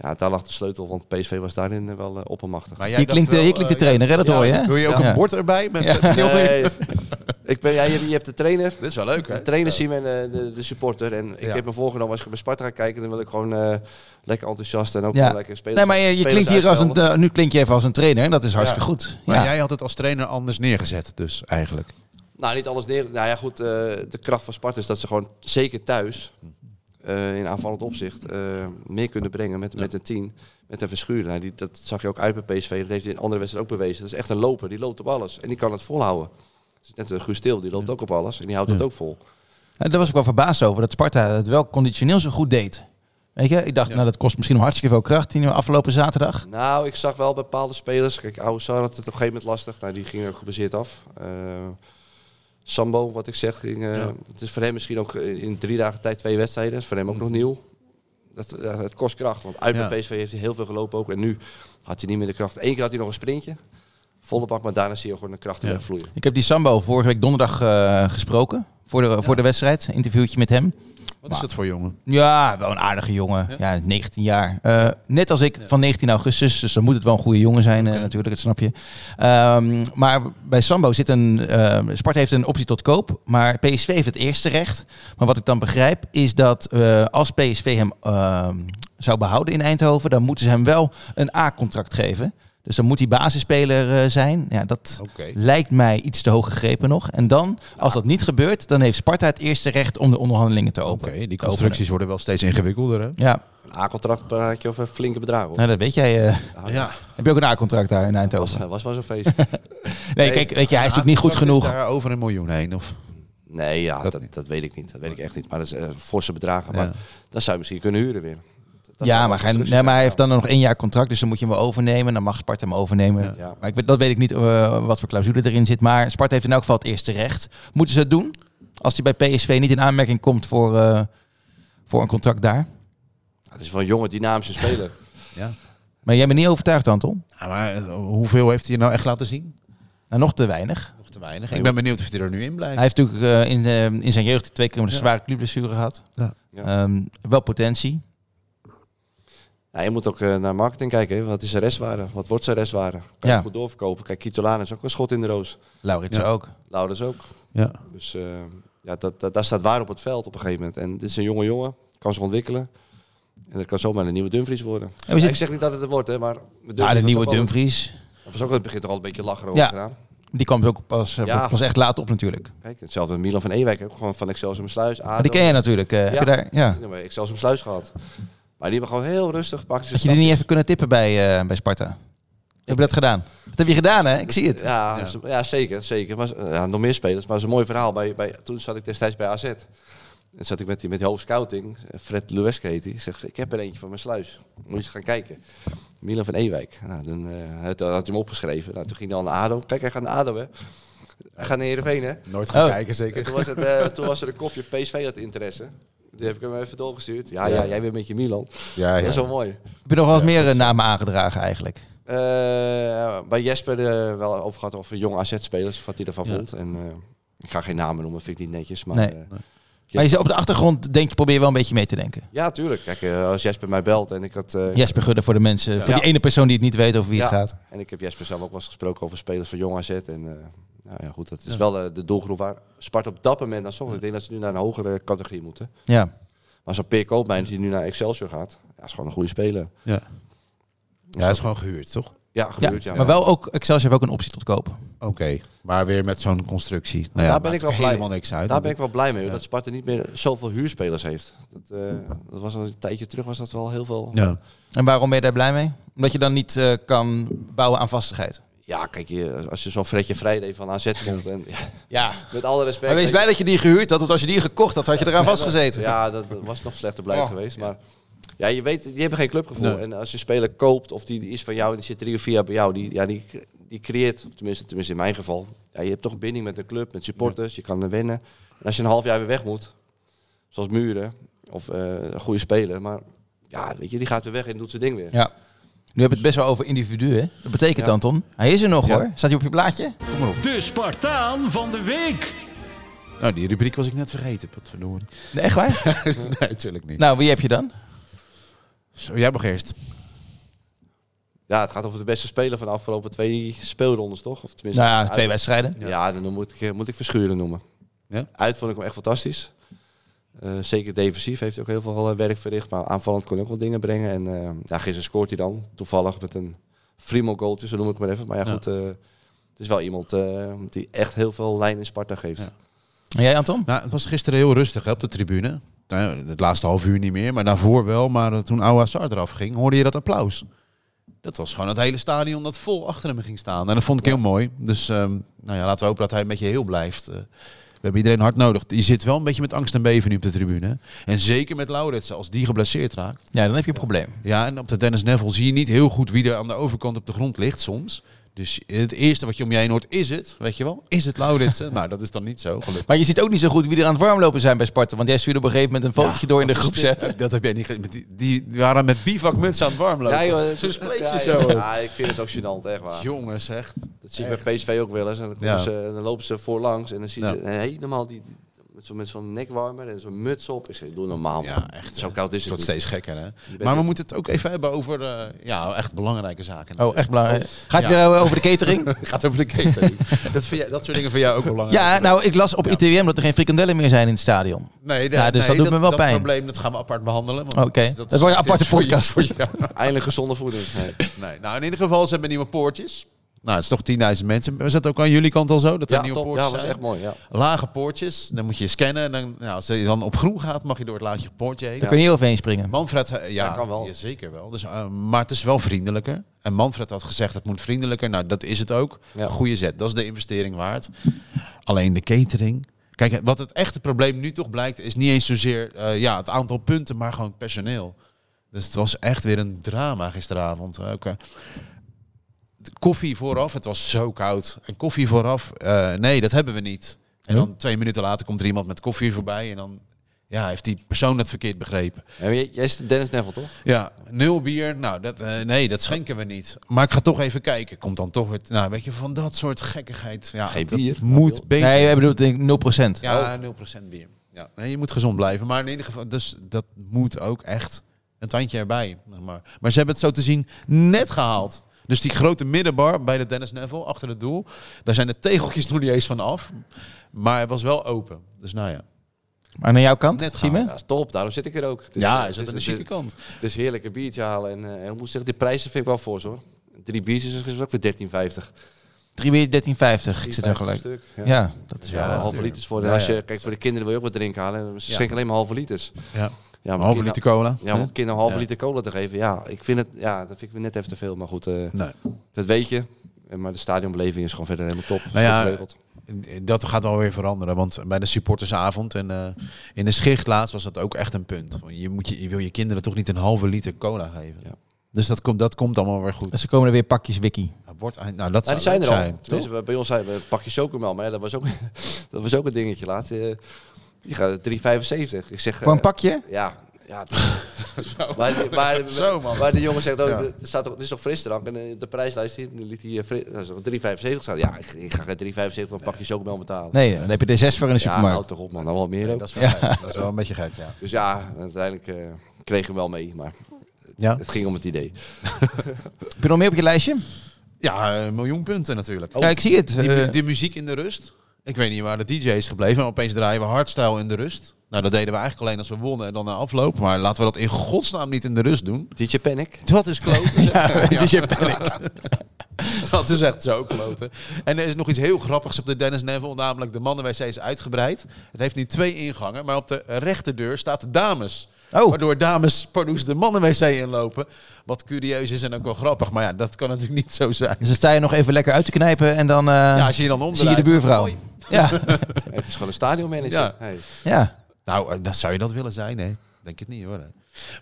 S4: Ja, daar lag de sleutel, want PSV was daarin eh, wel eh, oppermachtig.
S3: Maar
S2: Hier
S3: jij dacht
S2: klinkt, eh,
S3: wel,
S2: hier klinkt de
S3: eh,
S2: trainer, hè? Dat
S4: ja,
S2: hoor je, hè?
S3: Wil je ook
S2: Ja.
S3: een bord erbij? Met,
S2: Ja.
S3: eh,
S4: Nee, Ik ben, ja, je, hebt- je hebt de trainer.
S3: Dit is wel leuk, hè?
S4: De trainer
S2: nou.
S4: zien we en eh, de, de supporter. En ik
S3: Ja.
S4: heb me voorgenomen, als ik bij Sparta ga kijken, dan wil ik gewoon eh, lekker enthousiast en ook
S2: Ja.
S4: wel lekker spelen.
S2: Nee, maar je, je klinkt hier als een, eh, nu klink je even als een trainer en dat is hartstikke
S3: Ja.
S2: goed.
S3: Maar
S2: Ja.
S3: jij had het als trainer anders neergezet, dus eigenlijk.
S4: Nou, niet alles neer. Nou ja, goed. eh, de kracht van Sparta is dat ze gewoon zeker thuis, eh, in aanvallend opzicht, eh, meer kunnen brengen met, met een 10. Met een verschuren. Nou, die, dat zag je ook uit bij PSV. Dat heeft hij in andere wedstrijden ook bewezen. Dat is echt een loper. Die loopt op alles. En die kan het volhouden. Dat is net een Guus Til, Die loopt ook op alles. En die houdt het ook vol.
S2: En Daar was ik wel verbaasd over dat Sparta het wel conditioneel zo goed deed. Weet je, ik dacht, nou dat kost misschien nog hartstikke veel kracht die afgelopen zaterdag.
S4: Nou, ik zag wel bepaalde spelers. Kijk, Oussar had het op een gegeven moment lastig. Nou, die ging ook gebaseerd af. Eh, Sambo, wat ik zeg, ging, eh, het is voor hem misschien ook in, in drie dagen tijd twee wedstrijden. Dat is voor hem ook nog nieuw. Dat, ja, het kost kracht, want uit bij
S3: Ja.
S4: PSV heeft hij heel veel gelopen ook. En nu had hij niet meer de kracht. Eén keer had hij nog een sprintje, volle bak, maar daarna zie je gewoon de krachten
S3: Ja.
S4: wegvloeien.
S2: Ik heb die Sambo vorige week donderdag eh, gesproken voor de, voor de wedstrijd. Een interviewtje met hem.
S3: Wat is dat voor jongen?
S2: Ja, wel een aardige jongen. Ja, 19 jaar. Eh, net als ik van 19 augustus, dus dan moet het wel een goede jongen zijn eh, natuurlijk, dat snap je. Ehm, maar bij Sambo zit een... ehm, Sparta heeft een optie tot koop, maar PSV heeft het eerste recht. Maar wat ik dan begrijp is dat eh, als PSV hem ehm, zou behouden in Eindhoven, dan moeten ze hem wel een A-contract geven. Dus dan moet hij basisspeler eh, zijn. Ja, dat
S3: Oké.
S2: lijkt mij iets te hoog gegrepen nog. En dan, als dat niet gebeurt, dan heeft Sparta het eerste recht om de onderhandelingen te
S3: Oké,
S2: openen.
S3: die
S2: te openen.
S3: constructies worden wel steeds ingewikkelder, hè?
S2: Ja,
S4: Een A-contract praat je over flinke bedragen. hoor.
S2: nou, dat weet jij. eh.
S3: Ja.
S2: heb je ook een A-contract daar in
S4: was,
S2: Eindhoven?
S4: was wel zo'n feest.
S2: Nee, kijk, weet je, hij is natuurlijk niet goed genoeg.
S3: Daar over een miljoen heen, of?
S4: Nee, ja,
S3: Dat
S4: dat, dat,
S3: niet.
S4: weet ik niet. Dat weet ik echt niet. Maar dat is eh, forse bedragen.
S3: Ja.
S4: Maar dan zou je misschien kunnen huren weer. Dat zou
S2: Ja,
S4: wel
S2: maar, hij,
S4: constructie
S2: nee, maar hij
S4: zijn.
S2: heeft dan nog één jaar contract, dus dan moet je hem overnemen. Dan mag Sparta hem overnemen.
S4: Ja.
S2: Maar ik weet, dat weet ik niet eh, wat voor clausule erin zit. Maar Sparta heeft in elk geval het eerste recht. Moeten ze het doen? Als hij bij PSV niet in aanmerking komt voor, eh, voor een contract daar.
S4: Het is wel een jonge, dynamische speler.
S3: Ja.
S2: Maar jij bent niet overtuigd, Anton?
S3: maar eh, hoeveel heeft hij nou echt laten zien?
S2: Nou, nog te weinig.
S3: Nog te weinig. Ik ben benieuwd of hij er nu in blijft.
S2: Hij heeft natuurlijk eh, in, eh, in zijn jeugd twee keer een zware clubblessure gehad.
S3: Ja.
S4: Ja.
S2: Ehm, wel potentie.
S4: Ja, je moet ook eh, naar marketing kijken. hè. Wat is zijn restwaarde? Wat wordt zijn restwaarde? Kan
S2: Ja.
S4: je goed doorverkopen? Kijk, Kitolaan is ook een schot in de roos.
S2: Laurits
S3: Ja.
S2: ook.
S4: Lauders ook.
S3: Ja.
S4: Dus eh, ja, dat, dat, daar staat waar op het veld op een gegeven moment. En dit is een jonge jongen. Kan zich ontwikkelen. En dat kan zomaar een nieuwe Dumfries worden.
S2: zitten-
S4: Ja, ik zeg niet dat het er wordt, hè, maar... Dumfries
S2: Ja, Ah, de
S4: wordt
S2: nieuwe
S4: toch wel-
S2: Dumfries.
S4: Dat was ook, het begint toch al een beetje lachen over
S2: Ja.
S4: gedaan.
S2: Die kwam ook pas, eh,
S4: Ja.
S2: pas echt laat op natuurlijk.
S4: Kijk, hetzelfde met Milan van Ewijk. Ook gewoon van Excelsior Sluis.
S2: Maar die ken je natuurlijk. eh, Heb
S4: Ja.
S2: je daar, ja.
S4: Ja, maar Excelsior Sluis gehad. Maar die hebben gewoon heel rustig gepakt.
S2: Had je die niet even kunnen tippen bij, eh, bij Sparta? Heb je dat gedaan? Dat heb je gedaan, hè? Ik zie het.
S4: Ja, ze- ja. zeker. zeker. Maar, ze- ja, nog meer spelers. Maar het is een mooi verhaal. Bij, bij, toen zat ik destijds bij AZ. En zat ik met die, met die hoofdscouting, eh, Fred Lueske heet die. Zeg, ik heb er eentje van mijn sluis. Moet je eens gaan kijken. Milan van Ewijk. Nou, toen eh, had, had hij hem opgeschreven. Nou, toen ging hij al naar ADO. Kijk, hij gaat naar ADO, hè. Hij gaat naar Heerenveen, hè.
S3: Nooit
S2: gaan
S3: gaan
S2: Oh. kijken,
S3: kijken, zeker.
S4: En toen, was het, eh, toen was er een kopje PSV had interesse. Die heb ik hem even doorgestuurd. Ja, ja, jij bent met je Milan.
S3: Ja,
S4: Dat is
S3: ja.
S4: wel mooi.
S2: Heb je nog wel eens meer eh, namen aangedragen eigenlijk?
S4: Eh, bij Jesper eh, wel over gehad over jong AZ-spelers, wat hij ervan vond. En, eh, ik ga geen namen noemen, vind ik niet netjes. Maar,
S2: Nee.
S4: eh,
S2: Maar je, zit op de achtergrond denk je, probeer je wel een beetje mee te denken.
S4: ja, tuurlijk. Kijk, eh, als Jesper mij belt en ik had... eh,
S2: Jesper Gudde voor de mensen, voor
S4: Ja.
S2: die ene persoon die het niet weet over wie het
S4: ja,
S2: gaat.
S4: En ik heb Jesper zelf ook wel eens gesproken over spelers van jong AZ. En eh, nou ja, goed, dat is wel eh, de doelgroep waar Sparta op dat moment naar zocht. Ik denk dat ze nu naar een hogere categorie moeten.
S2: Ja.
S4: Maar zo'n Peer Koopmijn die nu naar Excelsior gaat, ja, is gewoon een goede speler.
S3: Ja. ja, hij is gewoon gehuurd, toch?
S4: Ja,
S2: Ja.
S4: gebeurt ja.
S2: Maar wel ook, Excelsior heeft ook een optie tot kopen.
S3: Oké, maar weer met zo'n constructie. Nou
S4: Daar
S3: ja,
S4: ben
S3: maakt
S4: ik wel
S3: er
S4: blij
S3: helemaal niks uit.
S4: Daar ben ik wel blij mee, hoor, dat Sparta niet meer zoveel huurspelers heeft. Dat, eh, dat was al een tijdje terug, was dat wel heel veel.
S3: Ja.
S2: En waarom ben je daar blij mee? Omdat je dan niet eh, kan bouwen aan vastigheid.
S4: Ja, kijk, je, als je zo'n Fredje Vrijday van AZ komt en ja,
S2: Ja.
S4: met alle respect.
S2: Maar wees blij dat je die gehuurd had, want als je die gekocht had, had je eraan vastgezeten.
S4: Ja, dat was nog slechter beleid
S2: Oh.
S4: geweest, maar ja, je weet, die hebben geen clubgevoel.
S3: Nee.
S4: En als je een speler koopt of die is van jou en die zit drie of vier jaar bij jou, die, ja, die, die creëert, tenminste, tenminste in mijn geval, ja, je hebt toch een binding met een club, met supporters, je kan er wennen. En als je een half jaar weer weg moet, zoals Muren of eh, een goede speler, maar ja, weet je, die gaat weer weg en doet zijn ding weer.
S2: Ja. Nu hebben we het best wel over individuen. Dat betekent, Anton, hij is er nog
S3: Ja.
S2: hoor. Staat hij op je blaadje?
S3: Kom maar op.
S1: De Spartaan van de week.
S3: Nou, die rubriek was ik net vergeten. Potverdorie.
S2: Nee, echt waar?
S3: nee, natuurlijk niet.
S2: nou, wie heb je dan?
S3: Zo, jij mag eerst.
S4: Ja, het gaat over de beste speler van de afgelopen twee speelrondes, toch? Of tenminste,
S2: Nou ja,
S4: uit-
S2: twee wedstrijden.
S4: Ja, dan moet ik, eh, moet ik Verschuren noemen.
S3: Ja?
S4: Uit vond ik hem echt fantastisch. Eh, zeker defensief heeft hij ook heel veel eh, werk verricht. Maar aanvallend kon hij ook wel dingen brengen. En eh, ja, gisteren scoort hij dan. Toevallig met een Frimo goaltje, zo noem ik hem maar even. Maar ja,
S3: Ja.
S4: goed. eh, het is wel iemand eh, die echt heel veel lijn in Sparta geeft.
S3: Ja.
S2: En jij, Anton?
S3: Nou, het was gisteren heel rustig hè, op de tribune. Nou, ja, het laatste half uur niet meer, maar daarvoor wel. Maar eh, toen Ouassar eraf ging, hoorde je dat applaus. Dat was gewoon het hele stadion dat vol achter hem ging staan. En dat vond ik heel mooi. Dus ehm, nou ja, laten we hopen dat hij een beetje heel blijft. Eh, we hebben iedereen hard nodig. Je zit wel een beetje met angst en beven nu op de tribune. hè. En zeker met Lauritsen, als die geblesseerd raakt.
S2: Ja, dan heb je een probleem.
S3: Ja, en op de Dennis Neville zie je niet heel goed wie er aan de overkant op de grond ligt soms. Dus het eerste wat je om je heen hoort, is het, weet je wel? Is het Lauritsen? nou, dat is dan niet zo, gelukkig.
S2: Maar je ziet ook niet zo goed wie er aan het warmlopen zijn bij Sparta. Want jij stuurde op een gegeven moment een fotootje door in de groep.
S3: Dat heb jij niet ge- Die, die waren met bivakmuts aan het warmlopen.
S4: Ja, joh,
S3: Zo'n spleetje
S4: ja,
S3: zo.
S4: Ja, ja, ik vind het ook gênant, echt waar.
S3: Jongens, echt.
S4: Dat zie ik bij PSV ook wel eens. En dan, komen
S3: Ja.
S4: ze, dan lopen ze voorlangs en dan zie je
S3: Ja.
S4: ze helemaal die, met zo'n met zo'n nekwarmer en zo'n muts op. Ik zeg, doe normaal.
S3: Ja,
S4: man.
S3: echt,
S4: Zo
S3: Het
S4: koud is het
S3: wordt
S4: niet.
S3: steeds gekker, hè?
S4: bent
S3: Maar we
S4: het.
S3: moeten het ook even hebben over eh, ja, echt belangrijke zaken.
S2: Oh, echt belangrijk. Gaat het
S3: Ja.
S2: weer over de catering?
S3: Het gaat over de catering. dat, vind jij, dat soort dingen voor jou ook belangrijk?
S2: Ja, nou, ik las op ITWM dat er geen frikandellen meer zijn in het stadion.
S3: nee,
S2: ja, dus dat doet me wel
S3: dat
S2: pijn.
S3: probleem dat gaan we apart behandelen. want
S2: Oké, dat wordt een aparte
S3: voor je-
S2: podcast.
S3: voor jou.
S4: Eindelijk gezonde voeding. Nee.
S3: Nee, nou in ieder geval, ze hebben nieuwe poortjes. Nou, het is toch 10.000 mensen. Was dat ook aan jullie kant al zo? Dat er
S4: Ja,
S3: nieuwe
S4: top.
S3: poortjes
S4: Ja, was
S3: zijn?
S4: echt mooi. Ja.
S3: Lage poortjes, dan moet je scannen. En dan, nou, als je dan op groen gaat, mag je door het laagje poortje heen.
S2: Daar kun je niet overheen springen.
S3: Manfred, eh, ja,
S4: Dat kan wel.
S3: ja, zeker wel. Dus, eh, maar het is wel vriendelijker. En Manfred had gezegd, het moet vriendelijker. Nou, dat is het ook.
S4: Ja.
S3: Goede zet, dat is de investering waard. Alleen de catering. Kijk, wat het echte probleem nu toch blijkt, is niet eens zozeer eh, ja, het aantal punten, maar gewoon het personeel. Dus het was echt weer een drama gisteravond. Eh, ook, eh, de koffie vooraf, het was zo koud. En koffie vooraf, eh, nee, dat hebben we niet. En
S2: Ja.
S3: dan twee minuten later komt er iemand met koffie voorbij en dan ja, heeft die persoon het verkeerd begrepen.
S4: Ja, maar jij, jij is Dennis Neville, toch?
S3: Ja, nul bier. Nou, dat, eh, nee, dat schenken we niet. Maar ik ga toch even kijken. Komt dan toch weer... Nou, weet je, van dat soort gekkigheid. Ja,
S4: Geen
S3: dat
S4: bier. oh.
S3: moet beter.
S2: Nee, we bedoelt denk ik 0%.
S3: ja, 0% bier. Ja. Nee, je moet gezond blijven. Maar in ieder geval, dus dat moet ook echt een tandje erbij. zeg Maar, maar ze hebben het zo te zien net gehaald. Dus die grote middenbar bij de Dennis Neville, achter het doel. Daar zijn de tegeltjes nog niet eens van af. Maar het was wel open. Dus nou ja.
S2: Maar naar jouw kant,
S3: Net
S2: Simon?
S4: Ja, dat is top. Daarom zit ik er ook. Het eh,
S3: Ja,
S4: het
S3: is dat aan de
S4: het
S3: chique kant.
S4: Het is heerlijk een biertje halen. En eh, ik moet zeggen, die prijzen vind ik wel voor, hoor. Drie biertjes is gisteren ook weer 13,50.
S2: 3 weer 13,50. Ik zit er
S4: 13,50
S2: gelijk.
S4: stuk, Ja.
S2: Ja, dat is
S4: Ja,
S2: wel.
S4: halve liters voor. de-
S3: Ja,
S4: Als
S3: ja.
S4: je, kijk, voor de kinderen wil je ook wat drinken halen. en Ze
S3: Ja.
S4: schenken alleen maar halve liters.
S3: ja.
S4: Ja, maar
S3: Een halve
S4: kinderen-
S3: liter cola.
S4: nou- Ja, om een kind een halve
S3: Ja.
S4: liter cola te geven. Ja, ik vind het, ja, dat vind ik weer net even te veel. Maar goed, eh,
S3: Nee.
S4: dat weet je. En Maar de stadionbeleving is gewoon verder helemaal top. Goed
S3: Nou ja,
S4: geregeld.
S3: Dat gaat wel weer veranderen, want bij de supportersavond en eh, in de schicht laatst was dat ook echt een punt. Want Je, moet je, je wil je kinderen toch niet een halve liter cola geven.
S4: Ja.
S3: Dus dat komt, dat komt allemaal weer goed.
S2: Dus er komen er weer pakjes wiki.
S3: Nou, wordt, eind- nou, dat
S4: Nou, die
S3: zou
S4: zijn er
S3: leuk
S4: al.
S3: zijn,
S4: Tenminste,
S3: toch?
S4: bij- bij ons zijn we een pakje chocomel, maar ja, dat, was ook, dat was ook een dingetje laatst. Eh, Die gaat 3,75. Ik zeg...
S2: Voor een
S4: eh,
S2: pakje?
S4: Ja. ja Maar, die- maar,
S3: Zo, man.
S4: maar de jongen zegt ook,
S3: Ja.
S4: er staat toch, het is toch frisdrank? En eh, de prijslijst hier, nu liet hij eh, fri- nou, zo, 3,75 staan. Ja, ik, ik ga geen 3,75 voor een pakje chocomel betalen.
S2: Nee, dan heb je er 6 voor in de
S4: ja, houd
S2: supermarkt.
S4: toch op man, dan wel meer
S3: Nee,
S4: ook.
S3: dat, is wel gek. dat is wel een beetje gek, ja.
S4: Dus ja, uiteindelijk eh, kreeg ik hem wel mee, maar
S3: Ja,
S4: het ging om het idee.
S2: Heb je nog meer op je lijstje?
S3: ja een miljoen punten natuurlijk.
S2: Ja, ik zie het.
S3: Oh, Die,
S2: Eh,
S3: mu- die muziek in de rust. Ik weet niet waar de DJ is gebleven. Maar opeens draaien we hardstyle in de rust. Nou, dat deden we eigenlijk alleen als we wonnen en dan na afloop. Maar laten we dat in godsnaam niet in de rust doen.
S4: DJ Panic.
S3: Dat is kloten.
S2: Ja. DJ
S3: Dat is echt zo kloten. En er is nog iets heel grappigs op de Dennis Neville. Namelijk de mannenwc is uitgebreid. Het heeft nu twee ingangen. Maar op de rechterdeur staat de dames.
S2: Oh.
S3: Waardoor dames pardoes de mannenwc inlopen. Wat curieus is en ook wel grappig. Maar ja, dat kan natuurlijk niet zo zijn.
S2: Dus dan sta je nog even lekker uit te knijpen en dan eh,
S3: Ja, als je je dan omdraait.
S2: zie je de buurvrouw.
S3: Hoi.
S2: Ja,
S4: Het is gewoon een stadionmanager.
S3: Ja.
S4: Hey.
S2: ja.
S3: Nou, eh, dan zou je dat willen zijn, hè? Denk het niet, hoor. hè.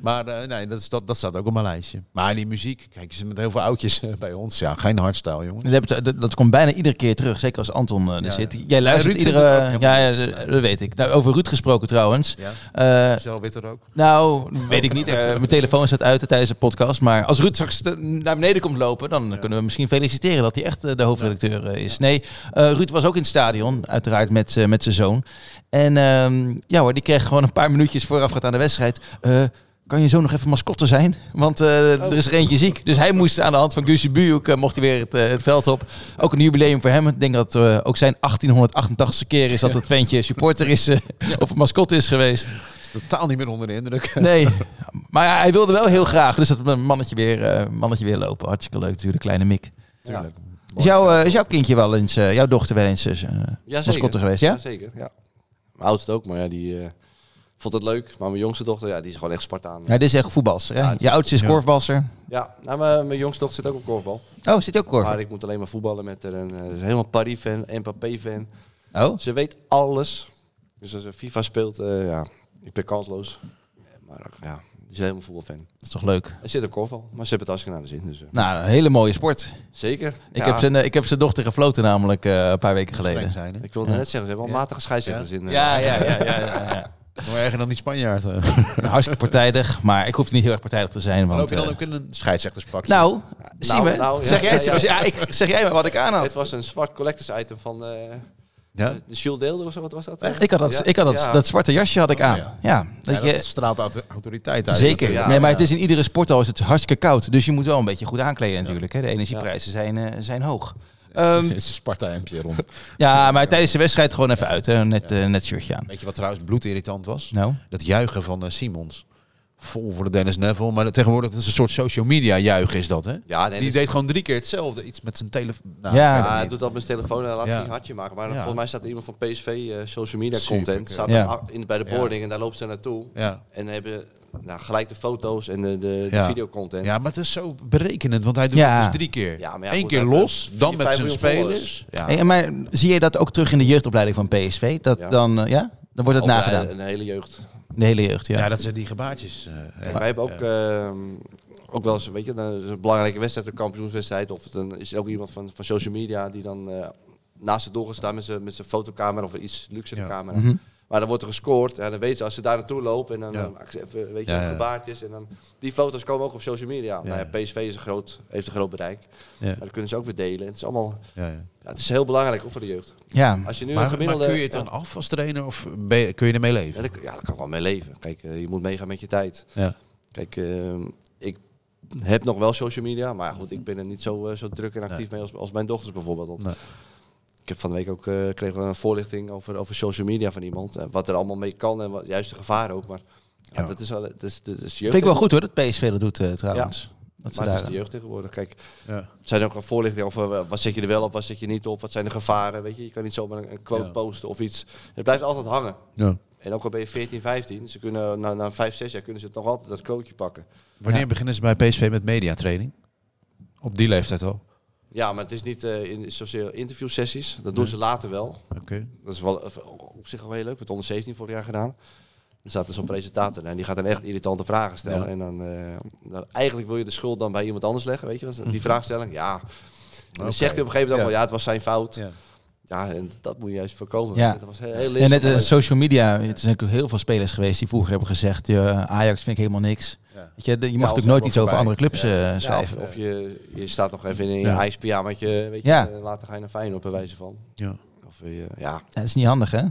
S3: Maar eh, nee, dat, is, dat, dat staat ook op mijn lijstje. Maar die muziek, kijk, ze zijn met heel veel oudjes eh, bij ons. Ja, geen hardstyle, jongen.
S2: Dat, heb je- dat- dat komt bijna iedere keer terug, zeker als Anton eh, er
S3: Ja,
S2: zit.
S3: ja.
S2: Jij luistert
S3: Ruud vindt
S2: iedere...
S3: het ook
S2: ja,
S3: helemaal
S2: ja,
S3: niks.
S2: dat- dat weet ik. Nou, over Ruud gesproken trouwens.
S3: Ja,
S2: Eh,
S3: Zelf witter ook.
S2: nou, weet ik niet. Eh, mijn telefoon staat uit tijdens de podcast. Maar als Ruud straks eh, naar beneden komt lopen, dan kunnen we misschien feliciteren dat hij echt eh, de hoofdredacteur eh, is. Nee, eh, Ruud was ook in het stadion, uiteraard met, eh, met zijn zoon. En ehm, ja hoor, die kreeg gewoon een paar minuutjes voorafgaand aan de wedstrijd. eh, Kan je zo nog even mascotte zijn? Want eh, er is er eentje ziek. Dus hij moest aan de hand van Guusje Bujuk, eh, mocht hij weer het, eh, het veld op. Ook een jubileum voor hem. Ik denk dat eh, ook zijn 1888ste keer is dat het ventje supporter is eh, of mascotte is geweest.
S3: Is totaal niet meer onder de indruk.
S2: Nee, maar ja, hij wilde wel heel graag. Dus dat mannetje weer, eh, mannetje weer lopen. Hartstikke leuk natuurlijk, kleine Mick.
S3: Tuurlijk.
S2: Is jouw, eh, is jouw kindje wel eens, eh, jouw dochter wel eens eh,
S4: Ja,
S2: mascotte geweest, ja?
S4: Zeker, ja. Mijn oudste ook, maar ja, die eh, vond het leuk. Maar mijn jongste dochter, ja, die is gewoon echt Spartaan.
S2: Ja, dit is echt voetbalster. Hè?
S4: Ja, het is-
S2: je oudste is korfbalster.
S4: Ja, nou, maar mijn jongste dochter zit ook op korfbal.
S2: Oh, zit je ook korf?
S4: Maar ik moet alleen maar voetballen met haar. En, eh, ze is helemaal Paris-fan, Mbappé-fan.
S2: Oh,
S4: Ze weet alles. Dus als ze FIFA speelt, eh, ja, ik ben kansloos. Eh, Maar ook, ja, ze is helemaal voetbalfan.
S2: dat is toch leuk.
S4: Ze zit op korfbal, maar ze hebben het hartstikke naar de zin. Dus, eh,
S2: Nou, een hele mooie sport.
S4: zeker.
S2: Ik,
S4: Ja,
S2: heb zijn, eh, ik heb zijn dochter gefloten namelijk eh, een paar weken
S3: Streng
S2: geleden.
S3: zijn, hè?
S4: Ik wilde net zeggen, ze hebben wel matige scheidsrechters in. eh,
S2: Ja, ja, ja. ja, ja, ja.
S3: Maar erger dan die Spanjaard. eh.
S2: Nou, hartstikke partijdig, maar ik hoef niet heel erg partijdig te zijn. Want,
S3: Loop je dan
S2: eh,
S3: ook in een scheidsrechterspakje?
S2: nou, zie me.
S4: nou, ja,
S2: zeg, jij het,
S4: ja, ja.
S2: ja, ik, zeg jij maar wat ik aan had.
S4: Het was een zwart collectors item van eh
S3: ja?
S4: de Jules Deelder of zo, wat was dat?
S2: Ik had dat,
S4: Ja,
S2: ik had dat,
S4: ja. Oh,
S2: dat zwarte jasje had ik aan.
S3: ja.
S2: ja.
S3: Ja,
S2: dat
S3: dat
S2: je,
S3: straalt auto- autoriteit uit. eh,
S2: Zeker.
S4: ja.
S2: nee, maar het is in iedere sporthal is het hartstikke koud. Dus je moet wel een beetje goed aankleden natuurlijk. Hè. De energieprijzen zijn, eh, zijn hoog.
S3: Het
S2: Ehm,
S3: is een Sparta-hempje rond.
S2: ja, maar tijdens de wedstrijd gewoon even uit. Hè. Net, eh, net shirtje aan.
S3: Weet je wat trouwens bloedirritant was?
S2: Nou,
S3: Dat juichen van eh, Simons. Vol voor de Dennis Neville. Maar dat- tegenwoordig dat is een soort social media juich is dat, hè?
S4: Ja, nee,
S3: Die
S4: dat-
S3: deed gewoon drie keer hetzelfde. Iets met zijn nou, telefoon.
S2: Ja.
S4: ja, hij doet dat met zijn telefoon en laat
S3: Ja.
S4: hij een hartje maken. Maar
S3: Ja.
S4: volgens mij staat er iemand van PSV eh, social media
S3: Super,
S4: content.
S3: ja.
S4: Staat
S2: Ja.
S4: er a- in, bij de
S3: Ja.
S4: boarding en daar loopt ze naartoe.
S3: Ja.
S4: En hebben nou, gelijk de foto's en de, de, de
S3: Ja.
S4: videocontent.
S3: ja, maar het is zo berekenend. Want hij doet
S2: Ja.
S3: het dus drie keer.
S4: Ja, maar ja,
S3: Eén
S4: goed,
S3: keer
S4: hij heeft
S3: los,
S4: vier,
S3: dan met
S4: vijf
S3: zijn
S4: miljoen volgers.
S3: spelers. Ja.
S2: hey, maar zie je dat ook terug in de jeugdopleiding van PSV? Dat
S4: Ja.
S2: dan, eh, ja? Dan wordt het
S4: Of, eh,
S2: nagedaan.
S4: Een hele jeugd.
S2: De hele jeugd, ja.
S3: Ja, dat zijn die gebaartjes. eh, hè.
S4: Kijk, wij hebben ook, ehm, ook wel eens, weet je, dan is het een belangrijke wedstrijd, een kampioenswedstrijd. Of dan is er ook iemand van, van social media die dan eh, naast het doel gaat staan met zijn met zijn fotocamera of een iets luxere
S3: Ja.
S4: camera. Maar dan wordt er gescoord. En dan weten ze als ze daar naartoe lopen en dan,
S3: Ja.
S4: dan maken ze even, weet je,
S3: Ja, ja.
S4: gebaartjes. En dan, die foto's komen ook op social media.
S3: Ja,
S4: Nou ja,
S3: ja.
S4: PSV is een groot, heeft een groot bereik.
S3: Ja.
S4: Maar dat kunnen ze ook weer delen. Het is allemaal,
S3: Ja, ja.
S4: ja, het is heel belangrijk ook voor de jeugd.
S2: ja.
S4: Als je nu een
S3: Maar, maar
S4: gemiddelde...
S3: kun je het dan
S4: ja,
S3: af als trainer of ben je- kun je ermee leven?
S4: ja, dat- ja, daar kan ik wel mee leven. Kijk, eh, je moet meegaan met je tijd.
S3: Ja.
S4: Kijk, ehm, ik heb nog wel social media, maar goed, ik ben er niet zo, eh, zo druk en actief mee als, als mijn dochters bijvoorbeeld. Want
S3: Nee.
S4: Ik heb van de week ook eh, kregen we een voorlichting over, over social media van iemand. en wat er allemaal mee kan en wat, juist de gevaren ook. Maar ja,
S3: Ja.
S4: dat is wel. Dat is, dat is jeugd.
S2: Vind ik wel goed hoor, dat PSV dat doet eh, trouwens. Dat ze
S4: Maar het is
S2: daar,
S4: de jeugd tegenwoordig. Kijk,
S3: Ja.
S4: zijn er ook een voorlichting over eh, wat zet je er wel op, wat zet je niet op, wat zijn de gevaren? Weet je, je kan niet zomaar een, een quote
S3: Ja.
S4: posten of iets. Het blijft altijd hangen.
S3: Ja.
S4: En ook al ben je 14, 15, ze kunnen na, na 5, 6 jaar kunnen ze het nog altijd dat quoteje pakken.
S3: Wanneer
S2: Ja.
S3: beginnen ze bij PSV met mediatraining? Op die leeftijd al.
S4: Ja, maar het is niet eh in zozeer interviewsessies. Dat doen ze later wel.
S3: Oké.
S4: Dat is wel eh, op zich wel heel leuk. Met 117 vorig jaar gedaan. Er staat dus zo'n presentator en die gaat dan echt irritante vragen
S3: Ja.
S4: stellen. En dan, eh, dan- eigenlijk wil je de schuld dan bij iemand anders leggen, weet je? wel. Die vraagstelling, ja. En dan
S3: Oké.
S4: zegt hij op een gegeven moment ook
S3: Ja.
S4: wel, ja, het was zijn fout. Ja,
S3: Ja.
S4: en dat moet je juist voorkomen.
S2: Ja.
S4: Dat was heel, heel
S2: En net eh,
S4: leerzaam.
S2: social media, er zijn natuurlijk heel veel spelers geweest die vroeger hebben gezegd, eh, Ajax vind ik helemaal niks.
S3: Ja.
S2: Weet je, de- je mag
S4: Ja,
S2: natuurlijk nooit
S3: als
S2: iets over
S3: voorbij.
S2: andere clubs eh,
S4: Ja, of,
S2: schrijven.
S4: of je, je staat nog even in een
S3: Ja.
S4: ijs pyjamaatje, weet je.
S2: Ja.
S4: eh, Later ga je naar Feyenoord bij wijze van.
S3: Ja.
S4: Of je, ja,
S2: Ja, dat is niet handig hè?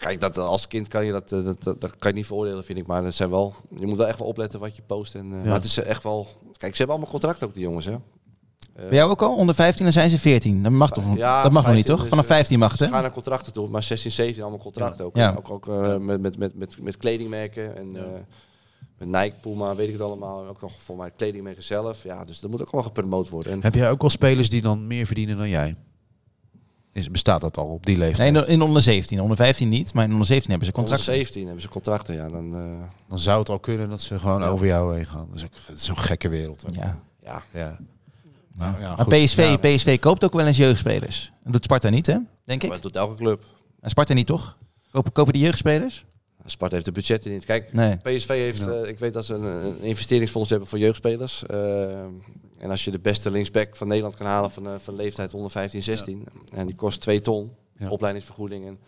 S4: Kijk, dat, eh, als kind kan je dat, eh, dat, dat, dat kan je niet veroordelen, vind ik. Maar dat zijn wel, je moet wel echt wel opletten wat je post. En, eh, Maar het is eh, echt wel... Kijk, ze hebben allemaal contract ook, die jongens, hè?
S2: Bij jou ook al? Onder 15 dan zijn ze 14. Dat mag, toch,
S4: Ja,
S2: dat mag nog niet
S4: 15,
S2: toch?
S4: dus,
S2: Vanaf
S4: eh,
S2: 15 mag het hè?
S4: Ga naar contracten toe, maar 16, 17 allemaal contracten ook.
S2: Ja.
S4: Ook, ook eh, met, met, met, met, met kledingmerken en eh, met Nike, Puma, weet ik het allemaal. En ook nog voor mij kledingmerken zelf. Ja, dus dat moet ook wel gepromoot worden. En,
S3: Heb jij ook al spelers die dan meer verdienen dan jij? Is, bestaat dat al op die
S2: Nee,
S3: leeftijd?
S2: in, in onder 17. Onder 15 niet, maar in onder 17 hebben ze
S4: contract
S2: contracten.
S4: 17 hebben ze contracten, ja. Dan, eh,
S3: Dan zou het al kunnen dat ze gewoon over jou heen gaan. Dat is ook dat is zo'n gekke wereld. Hè? Ja.
S2: Ja.
S4: ja.
S3: Nou, ja,
S2: Maar
S3: goed.
S2: PSV,
S3: Ja.
S2: PSV koopt ook wel eens jeugdspelers. Dat doet Sparta niet hè? Denk
S4: Maar
S2: ik.
S4: dat doet elke club.
S2: En Sparta niet toch? Kopen, kopen die jeugdspelers?
S4: Sparta heeft de budgetten niet. Kijk,
S2: Nee.
S4: PSV heeft, eh, ik weet dat ze een, een investeringsfonds hebben voor jeugdspelers. Eh, en als je de beste linksback van Nederland kan halen van, eh, van leeftijd 115, 16. En die kost 2 ton,
S3: Ja.
S4: opleidingsvergoeding. En,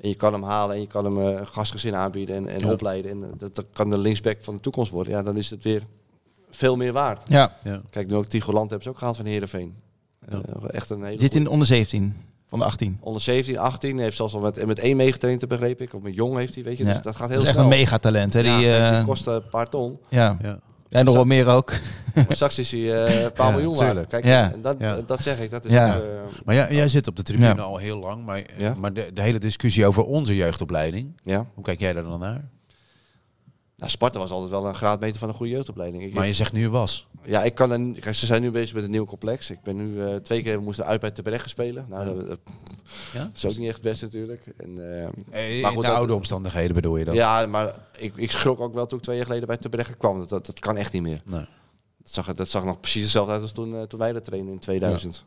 S4: en je kan hem halen en je kan hem eh, een gastgezin aanbieden en, en
S3: Ja.
S4: opleiden. En eh, dat, dat kan de linksback van de toekomst worden. Ja, dan is het weer veel meer waard.
S2: Ja.
S3: Ja.
S4: Kijk, nu ook Tigo Land hebben ze ook gehaald van Heerenveen.
S3: Ja.
S4: Eh, echt een hele
S2: Dit
S4: goeie-
S2: in onder 17. Van de 18.
S4: Onder 17, 18. Heeft zelfs al met, met één meegetraind, begreep ik. Of met jong heeft hij, weet je.
S2: Ja.
S4: Dus dat gaat heel
S2: Dat is echt
S4: snel.
S2: een megatalent. Hè?
S4: Ja,
S2: die,
S4: en
S2: eh,
S4: die kost eh, een paar ton.
S2: ja.
S3: Ja.
S2: En nog wel meer ook.
S4: Maar straks is hij eh, een paar
S3: Ja,
S4: miljoen
S3: tuurlijk.
S4: waard. Kijk,
S2: Ja.
S4: en dat,
S3: Ja.
S4: dat zeg ik. Dat is
S2: Ja.
S4: ook, eh,
S3: Maar jij, jij zit op de tribune
S2: Ja.
S3: al heel lang. Maar,
S4: Ja.
S3: maar de, de hele discussie over onze jeugdopleiding.
S4: ja.
S3: Hoe kijk jij daar dan naar?
S4: Nou, Sparta was altijd wel een graadmeter van een goede jeugdopleiding. Ik,
S3: Maar je zegt nu was.
S4: Ja, ik kan een, kijk, ze zijn nu bezig met een nieuw complex. Ik ben nu eh, twee keer we moesten uit bij Terbregge spelen. Nou, dat, dat
S3: Ja?
S4: is ook niet echt best natuurlijk. En, eh,
S3: Eh,
S4: Maar
S3: in
S4: goed,
S3: de
S4: dat-
S3: oude omstandigheden bedoel je dat?
S4: ja, maar ik, ik schrok ook wel toen ik twee jaar geleden bij Terbregge kwam. Dat, dat, dat kan echt niet meer.
S3: Nee.
S4: Dat zag, er- dat zag er nog precies hetzelfde uit als toen, eh, toen wij dat trainen in 2000.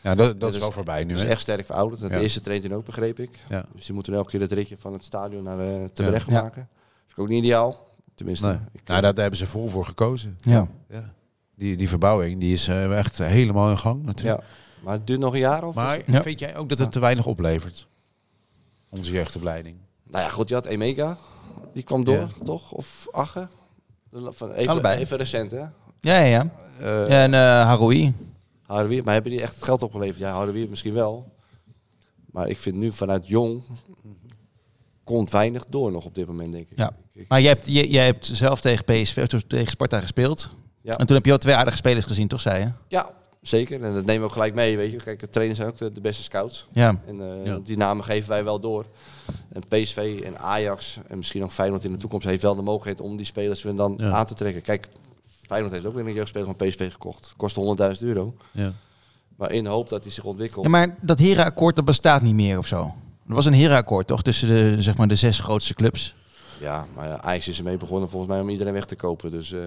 S3: Ja, dat, dat
S4: dat
S3: is
S4: is-
S3: wel voorbij nu.
S4: Dus
S3: Hè?
S4: echt sterk verouderd. Dat
S3: Ja.
S4: De eerste traint toen ook, begreep ik.
S3: Ja.
S4: Dus die moeten elke keer het ritje van het stadion naar eh Terbregge
S2: Ja.
S4: maken. Dat is ook niet ideaal. Tenminste.
S3: Nee.
S4: ik-
S3: Nou, daar hebben ze vol voor gekozen.
S2: Ja.
S3: Ja. Die, die verbouwing die is eh, echt helemaal in gang natuurlijk.
S4: eh, ja. Maar het duurt nog een jaar of
S3: Maar
S2: Ja.
S3: vind jij ook dat het te weinig oplevert? Onze jeugdopleiding.
S4: Nou ja, goed, je had Emeka. Die kwam door, toch? Of Ache? De- Van even,
S2: Allebei.
S4: even recent, hè?
S2: Ja, ja, ja.
S4: Eh
S2: En eh Haroui.
S4: Harder Wier, maar hebben die echt het geld opgeleverd? Ja, Harder Wier misschien wel. Maar ik vind nu vanuit jong komt weinig door nog op dit moment, denk ik.
S2: Ja. Maar jij hebt, jij, jij hebt zelf tegen PSV, of tegen Sparta gespeeld.
S4: Ja.
S2: En toen heb je ook twee aardige spelers gezien, toch, zei je?
S4: Ja, zeker. En dat nemen we ook gelijk mee, weet je. Kijk, de trainers zijn ook de, de beste scouts.
S2: Ja.
S4: En eh,
S3: Ja.
S4: die namen geven wij wel door. En PSV en Ajax en misschien nog Feyenoord in de toekomst heeft wel de mogelijkheid om die spelers weer dan
S3: Ja.
S4: aan te trekken. Kijk, Feyenoord heeft ook weer een jeugdspeler van PSV gekocht. Kostte 100.000 euro.
S3: Ja.
S4: Maar in de hoop dat hij zich ontwikkelt.
S2: ja maar dat herenakkoord, dat bestaat niet meer of zo. Er was een herenakkoord, toch? Tussen de, zeg maar, de zes grootste clubs.
S4: Ja, maar ja, Ajax is ermee begonnen volgens mij om iedereen weg te kopen. Dus eh,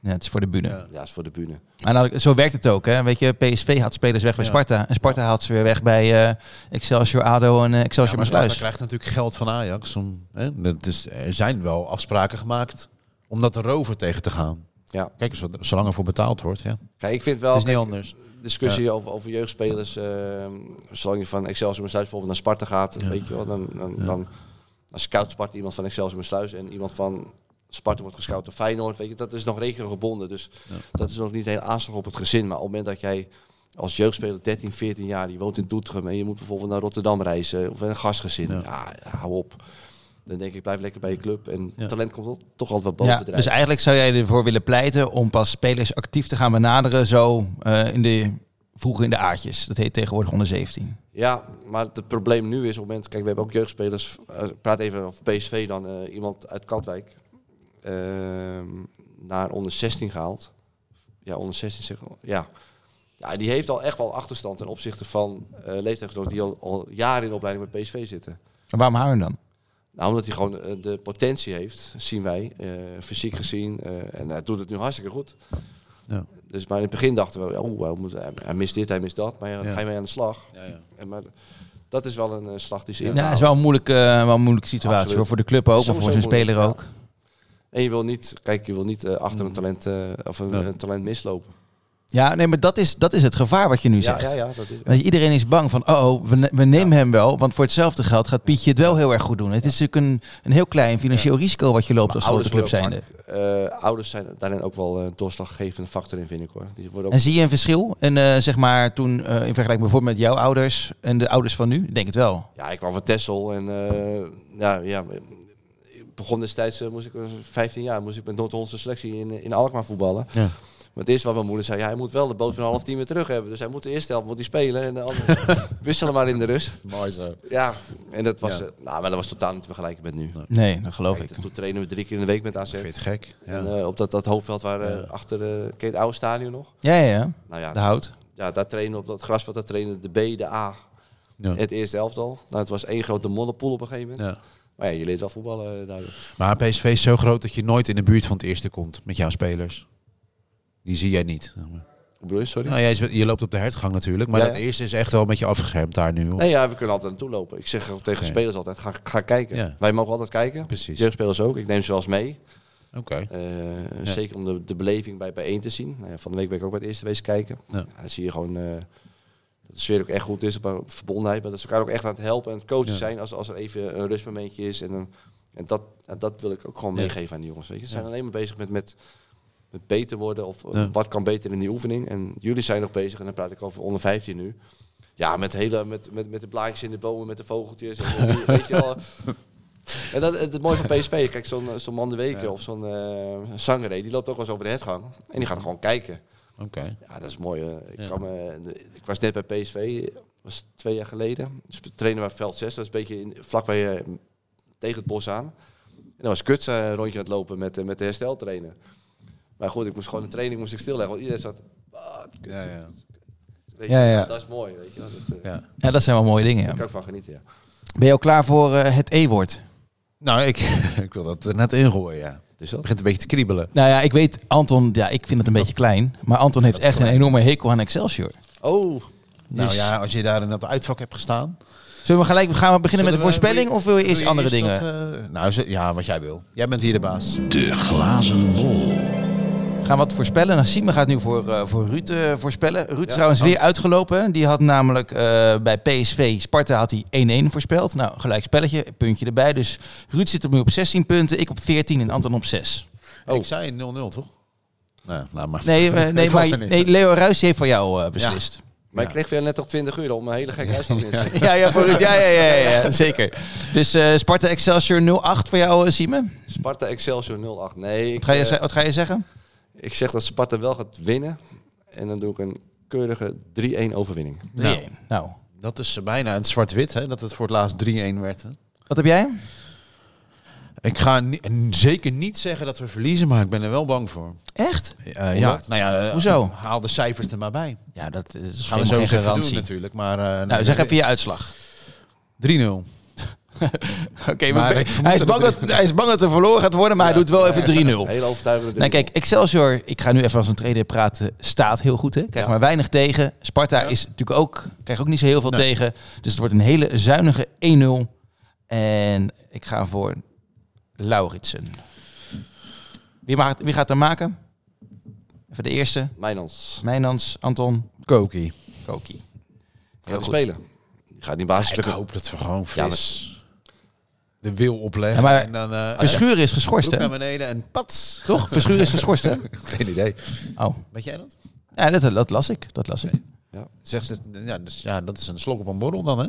S2: Ja, het is voor de bühne.
S3: Ja.
S4: ja, is voor de bühne.
S2: Maar nou, zo werkt het ook, hè? Weet je, PSV haalt spelers weg bij
S3: Ja.
S2: Sparta. En Sparta haalt ze weer weg bij eh, Excelsior, ADO en eh, Excelsior
S3: maar Sparta
S2: Maasluis.
S3: krijgt natuurlijk geld van Ajax. Om, hè? Dat is, er zijn wel afspraken gemaakt om dat erover tegen te gaan.
S4: Ja.
S3: Kijk, zo- zolang er voor betaald wordt. Ja.
S4: Kijk, ik vind
S3: Het
S4: wel
S3: is niet anders.
S4: discussie over, over jeugdspelers. eh, zolang je van Excelsior Maasluis bijvoorbeeld naar Sparta gaat,
S3: Ja.
S4: weet je wel, dan, dan, dan, dan scout Sparta iemand van Excelsior Maasluis en iemand van Sparta wordt gescout door Feyenoord. Weet je, dat is nog regiogebonden. Dus dat is nog niet heel aanslag op het gezin. Maar op het moment dat jij als jeugdspeler 13, 14 jaar, je woont in Doetinchem en je moet bijvoorbeeld naar Rotterdam reizen of een gastgezin. Ja, hou op. Dan denk ik, blijf lekker bij je club. En
S3: Ja.
S4: talent komt toch- toch altijd wat boven
S2: Ja,
S4: drijven.
S2: dus eigenlijk zou jij ervoor willen pleiten om pas spelers actief te gaan benaderen, zo eh, in de, vroeger in de aardjes. Dat heet tegenwoordig onder 17.
S4: Ja, maar het probleem nu is op het moment... Kijk, we hebben ook jeugdspelers. eh, Ik praat even over PSV dan. eh, iemand uit Katwijk. ehm, naar onder 16 gehaald. Ja, onder 16 zeg maar. Ja. ja, die heeft al echt wel achterstand ten opzichte van eh leeftijdsgenoten... die al, al jaren in de opleiding bij PSV zitten.
S2: En waarom houden dan?
S4: Nou, omdat hij gewoon eh, de potentie heeft, zien wij. eh, fysiek gezien. eh, en hij doet het nu hartstikke goed.
S3: Ja.
S4: Dus, maar in het begin dachten we... Oh, hij, moet, hij- hij mist dit, hij mist dat. Maar ja, dan
S3: Ja.
S4: ga je mee aan de slag.
S3: Ja, ja.
S4: En maar dat is wel een eh, slag die ze
S2: Ja,
S4: in.
S2: het is wel een moeilijke, eh, wel een moeilijke situatie
S4: Absoluut.
S2: hoor. voor de club ook, maar
S4: Sowieso
S2: voor zijn speler
S4: moeilijk,
S2: ook.
S4: En je wil niet, kijk, je wil niet eh, achter
S2: Mm.
S4: een talent eh, of een,
S3: Ja.
S4: een talent mislopen.
S2: Ja, nee, maar dat is, dat is het gevaar wat je nu
S4: Ja,
S2: zegt.
S4: ja, ja, dat is.
S2: Want iedereen is bang van, oh, oh, we, ne- we nemen hem wel, want voor hetzelfde geld gaat Pietje het wel heel erg goed doen. Het is natuurlijk een, een heel klein financieel risico wat je loopt als grote club
S4: worden ook
S2: zijnde.
S4: vaak, eh, ouders zijn daarin ook wel eh, een doorslaggevende factor in, vind ik hoor. Die worden ook,
S2: En zie je een verschil? En eh, zeg maar toen, eh, in vergelijking bijvoorbeeld met jouw ouders en de ouders van nu? Ik Denk het wel.
S4: ja, ik kwam van Tessel en eh, ja, ja, ik begon destijds, eh, moest ik eh, 15 jaar, moest ik met Noord-Hollandse selectie in, eh, in Alkmaar voetballen.
S3: Ja.
S4: Maar het eerste wat mijn moeder zei, ja, hij moet wel de boot van half tien weer terug hebben. Dus hij moet de eerste helft moet hij spelen en de andere wisselen maar in de rust.
S3: Mooi zo.
S4: Ja, en dat was,
S3: Ja.
S4: eh, nou, maar dat was totaal niet te vergelijken met nu.
S2: Nee, dat geloof ik.
S4: Kijk, toen trainen we drie keer in de week met AZ.
S3: Ik vind het gek. Ja.
S4: En, eh, op dat, dat hoofdveld waar eh,
S3: Ja.
S4: achter eh ken je het oude stadion nog.
S2: Ja, ja, ja.
S4: Nou ja,
S2: De hout.
S4: ja, daar trainen we op dat grasveld, daar trainen de B, de A.
S3: Ja.
S4: Het eerste elftal. Nou, het was één grote modderpoel op een gegeven moment.
S3: Ja.
S4: Maar ja, je leert wel voetballen eh, daardoor.
S3: Maar PSV is zo groot dat je nooit in de buurt van het eerste komt met jouw spelers. Die zie jij niet.
S4: Hoe bedoel je, sorry?
S3: Nou, jij, is- je loopt op de hertgang natuurlijk, maar
S4: Ja,
S3: dat
S4: ja.
S3: eerste is echt wel een beetje afgeschermd daar nu. hoor.
S4: Nee, ja, we kunnen altijd naartoe lopen. Ik zeg ook tegen
S3: Oké.
S4: spelers altijd, ga, ga kijken.
S3: Ja.
S4: Wij mogen altijd kijken.
S3: Precies.
S4: Jeugdspelers ook. Ik neem ze wel eens mee.
S3: Oké.
S4: Eh,
S3: Ja.
S4: Zeker om de, de beleving bij bijeen te zien. Nou ja, van de week ben ik ook bij het eerste wees kijken.
S3: Ja.
S4: Ja, dan zie je gewoon eh, dat de sfeer ook echt goed is, op een verbondenheid. Maar dat ze elkaar ook echt aan het helpen en het coachen
S3: Ja.
S4: zijn als, als er even een rustmomentje is. En, dan, en dat, ja, dat wil ik ook gewoon
S3: Ja.
S4: meegeven aan die jongens. Weet je. Ze zijn alleen maar bezig met, met, met beter worden of eh,
S3: Ja.
S4: wat kan beter in die oefening. En jullie zijn nog bezig, en dan praat ik over onder 15 nu. Ja, met, hele, met, met, met de blaadjes in de bomen, met de vogeltjes. En, weet je wel. En dat, het, het mooie van PSV, kijk, zo'n eh, zo'n man de week of zo'n eh Sangaré, die loopt ook wel eens over de headgang. En die gaat gewoon kijken.
S3: Oké.
S4: Ja, dat is mooi. eh. Ik,
S3: Ja.
S4: kan me, ik was net bij PSV, eh, was twee jaar geleden. Dus we trainen bij veld 6, dat is een beetje in, vlakbij eh, tegen het bos aan. En dan was Kuts eh, een rondje aan het lopen met, eh, met de hersteltrainer. Maar goed, ik moest gewoon een training moest ik stilleggen, want iedereen zat... "Ah, Kuts."
S3: Ja, ja.
S4: Weet je,
S2: Ja,
S4: ja,
S2: ja.
S4: Dat is mooi, weet je. wel. Dat, eh,
S3: ja.
S2: Ja, dat zijn wel mooie dingen.
S4: Daar
S2: ja.
S4: kan ik van genieten, ja.
S2: Ben je al klaar voor eh, het E-woord?
S3: Nou, ik, ik wil dat er net ingooien, ja. Het
S4: Dus dat?
S3: begint een beetje te kriebelen.
S2: Nou ja, ik weet, Anton, ja, ik vind het een beetje klein. Maar Anton heeft echt een enorme hekel aan Excelsior.
S4: Oh,
S3: Nou
S2: Dus-
S3: ja, als je daar in dat uitvak hebt gestaan.
S2: Zullen we gelijk gaan we beginnen met de
S3: Zullen we-
S2: voorspelling? Of wil je eerst
S3: Doe je
S2: andere dingen?
S3: dat, eh, nou, ze- ja, wat jij wil. Jij bent hier de baas.
S1: De glazen bol.
S2: Gaan we wat voorspellen? Nou, Siemen gaat nu voor, eh, voor Ruud eh, voorspellen. Ruud is trouwens weer uitgelopen. Die had namelijk eh, bij PSV Sparta had hij 1-1 voorspeld. Nou, gelijk spelletje, puntje erbij. Dus Ruud zit nu op 16 punten, ik op 14 en Anton op 6.
S4: Oh.
S3: Ik zei 0-0, toch? Nou, laat maar.
S2: Nee, eh, nee,
S3: Ik was
S2: maar,
S3: er niet.
S2: nee Leo Ruijs heeft voor jou eh, beslist.
S4: maar
S3: Ja.
S4: ik kreeg weer net toch 20 euro om een hele gekke uitslag in te zetten.
S2: Ja, ja, voor Ruud. Ja, ja, ja, ja, ja, zeker. Dus eh, Sparta Excelsior 08 voor jou, eh, Siemen.
S4: Sparta Excelsior 08. Nee, ik,
S2: Wat ga, je,
S4: eh,
S2: ze- wat ga je zeggen?
S4: ik zeg dat Sparta wel gaat winnen. En dan doe ik een keurige 3-1 overwinning.
S2: 3-1. nou,
S3: Dat is bijna een zwart-wit, hè? Dat het voor het laatst 3-1 werd. Hè?
S2: wat heb jij?
S3: Ik ga ni- en zeker niet zeggen dat we verliezen, maar ik ben er wel bang voor.
S2: Echt?
S3: Eh, ja, nou ja, eh,
S2: Hoezo?
S3: Haal de cijfers er maar bij.
S2: Ja, dat is
S3: Gaan we zo eens even doen natuurlijk, maar... eh,
S2: Nou,
S3: nee,
S2: zeg even je uitslag.
S3: 3-0.
S2: Oké,
S3: maar
S2: maar
S3: ik
S2: hij-
S3: vermoed
S2: hij, is
S3: dat
S2: bang
S3: het-
S2: dat, hij is bang dat er verloren gaat worden, maar hij doet wel even 3-0.
S4: Hele overtuigende
S2: Nou kijk, Excelsior, ik ga nu even als een trader praten, staat heel goed. Hè? Krijg maar weinig tegen. Sparta is natuurlijk ook, krijg ook niet zo heel veel
S3: Nee.
S2: tegen. Dus het wordt een hele zuinige 1-0. En ik ga voor Lauritsen. Wie, maakt, wie gaat er maken? Even de eerste.
S4: Mijnans.
S2: Mijnans, Anton,
S3: Koki.
S2: Koki.
S4: Gaat hij
S2: goed.
S4: spelen. Die gaat die basis
S3: Ik hoop dat we gewoon fris de wil
S2: Ja,
S3: opleggen.
S2: maar
S3: en dan, eh,
S2: Verschuren is geschorst,
S3: broek
S2: hè?
S3: naar beneden en pats.
S2: Toch? Verschuren is geschorst, hè?
S3: Geen idee.
S2: Oh,
S3: Weet jij dat?
S2: ja, dat, dat las ik. Dat las ik.
S3: Zeg, ze- ja, dus, ja, dat is een slok op een borrel dan, hè?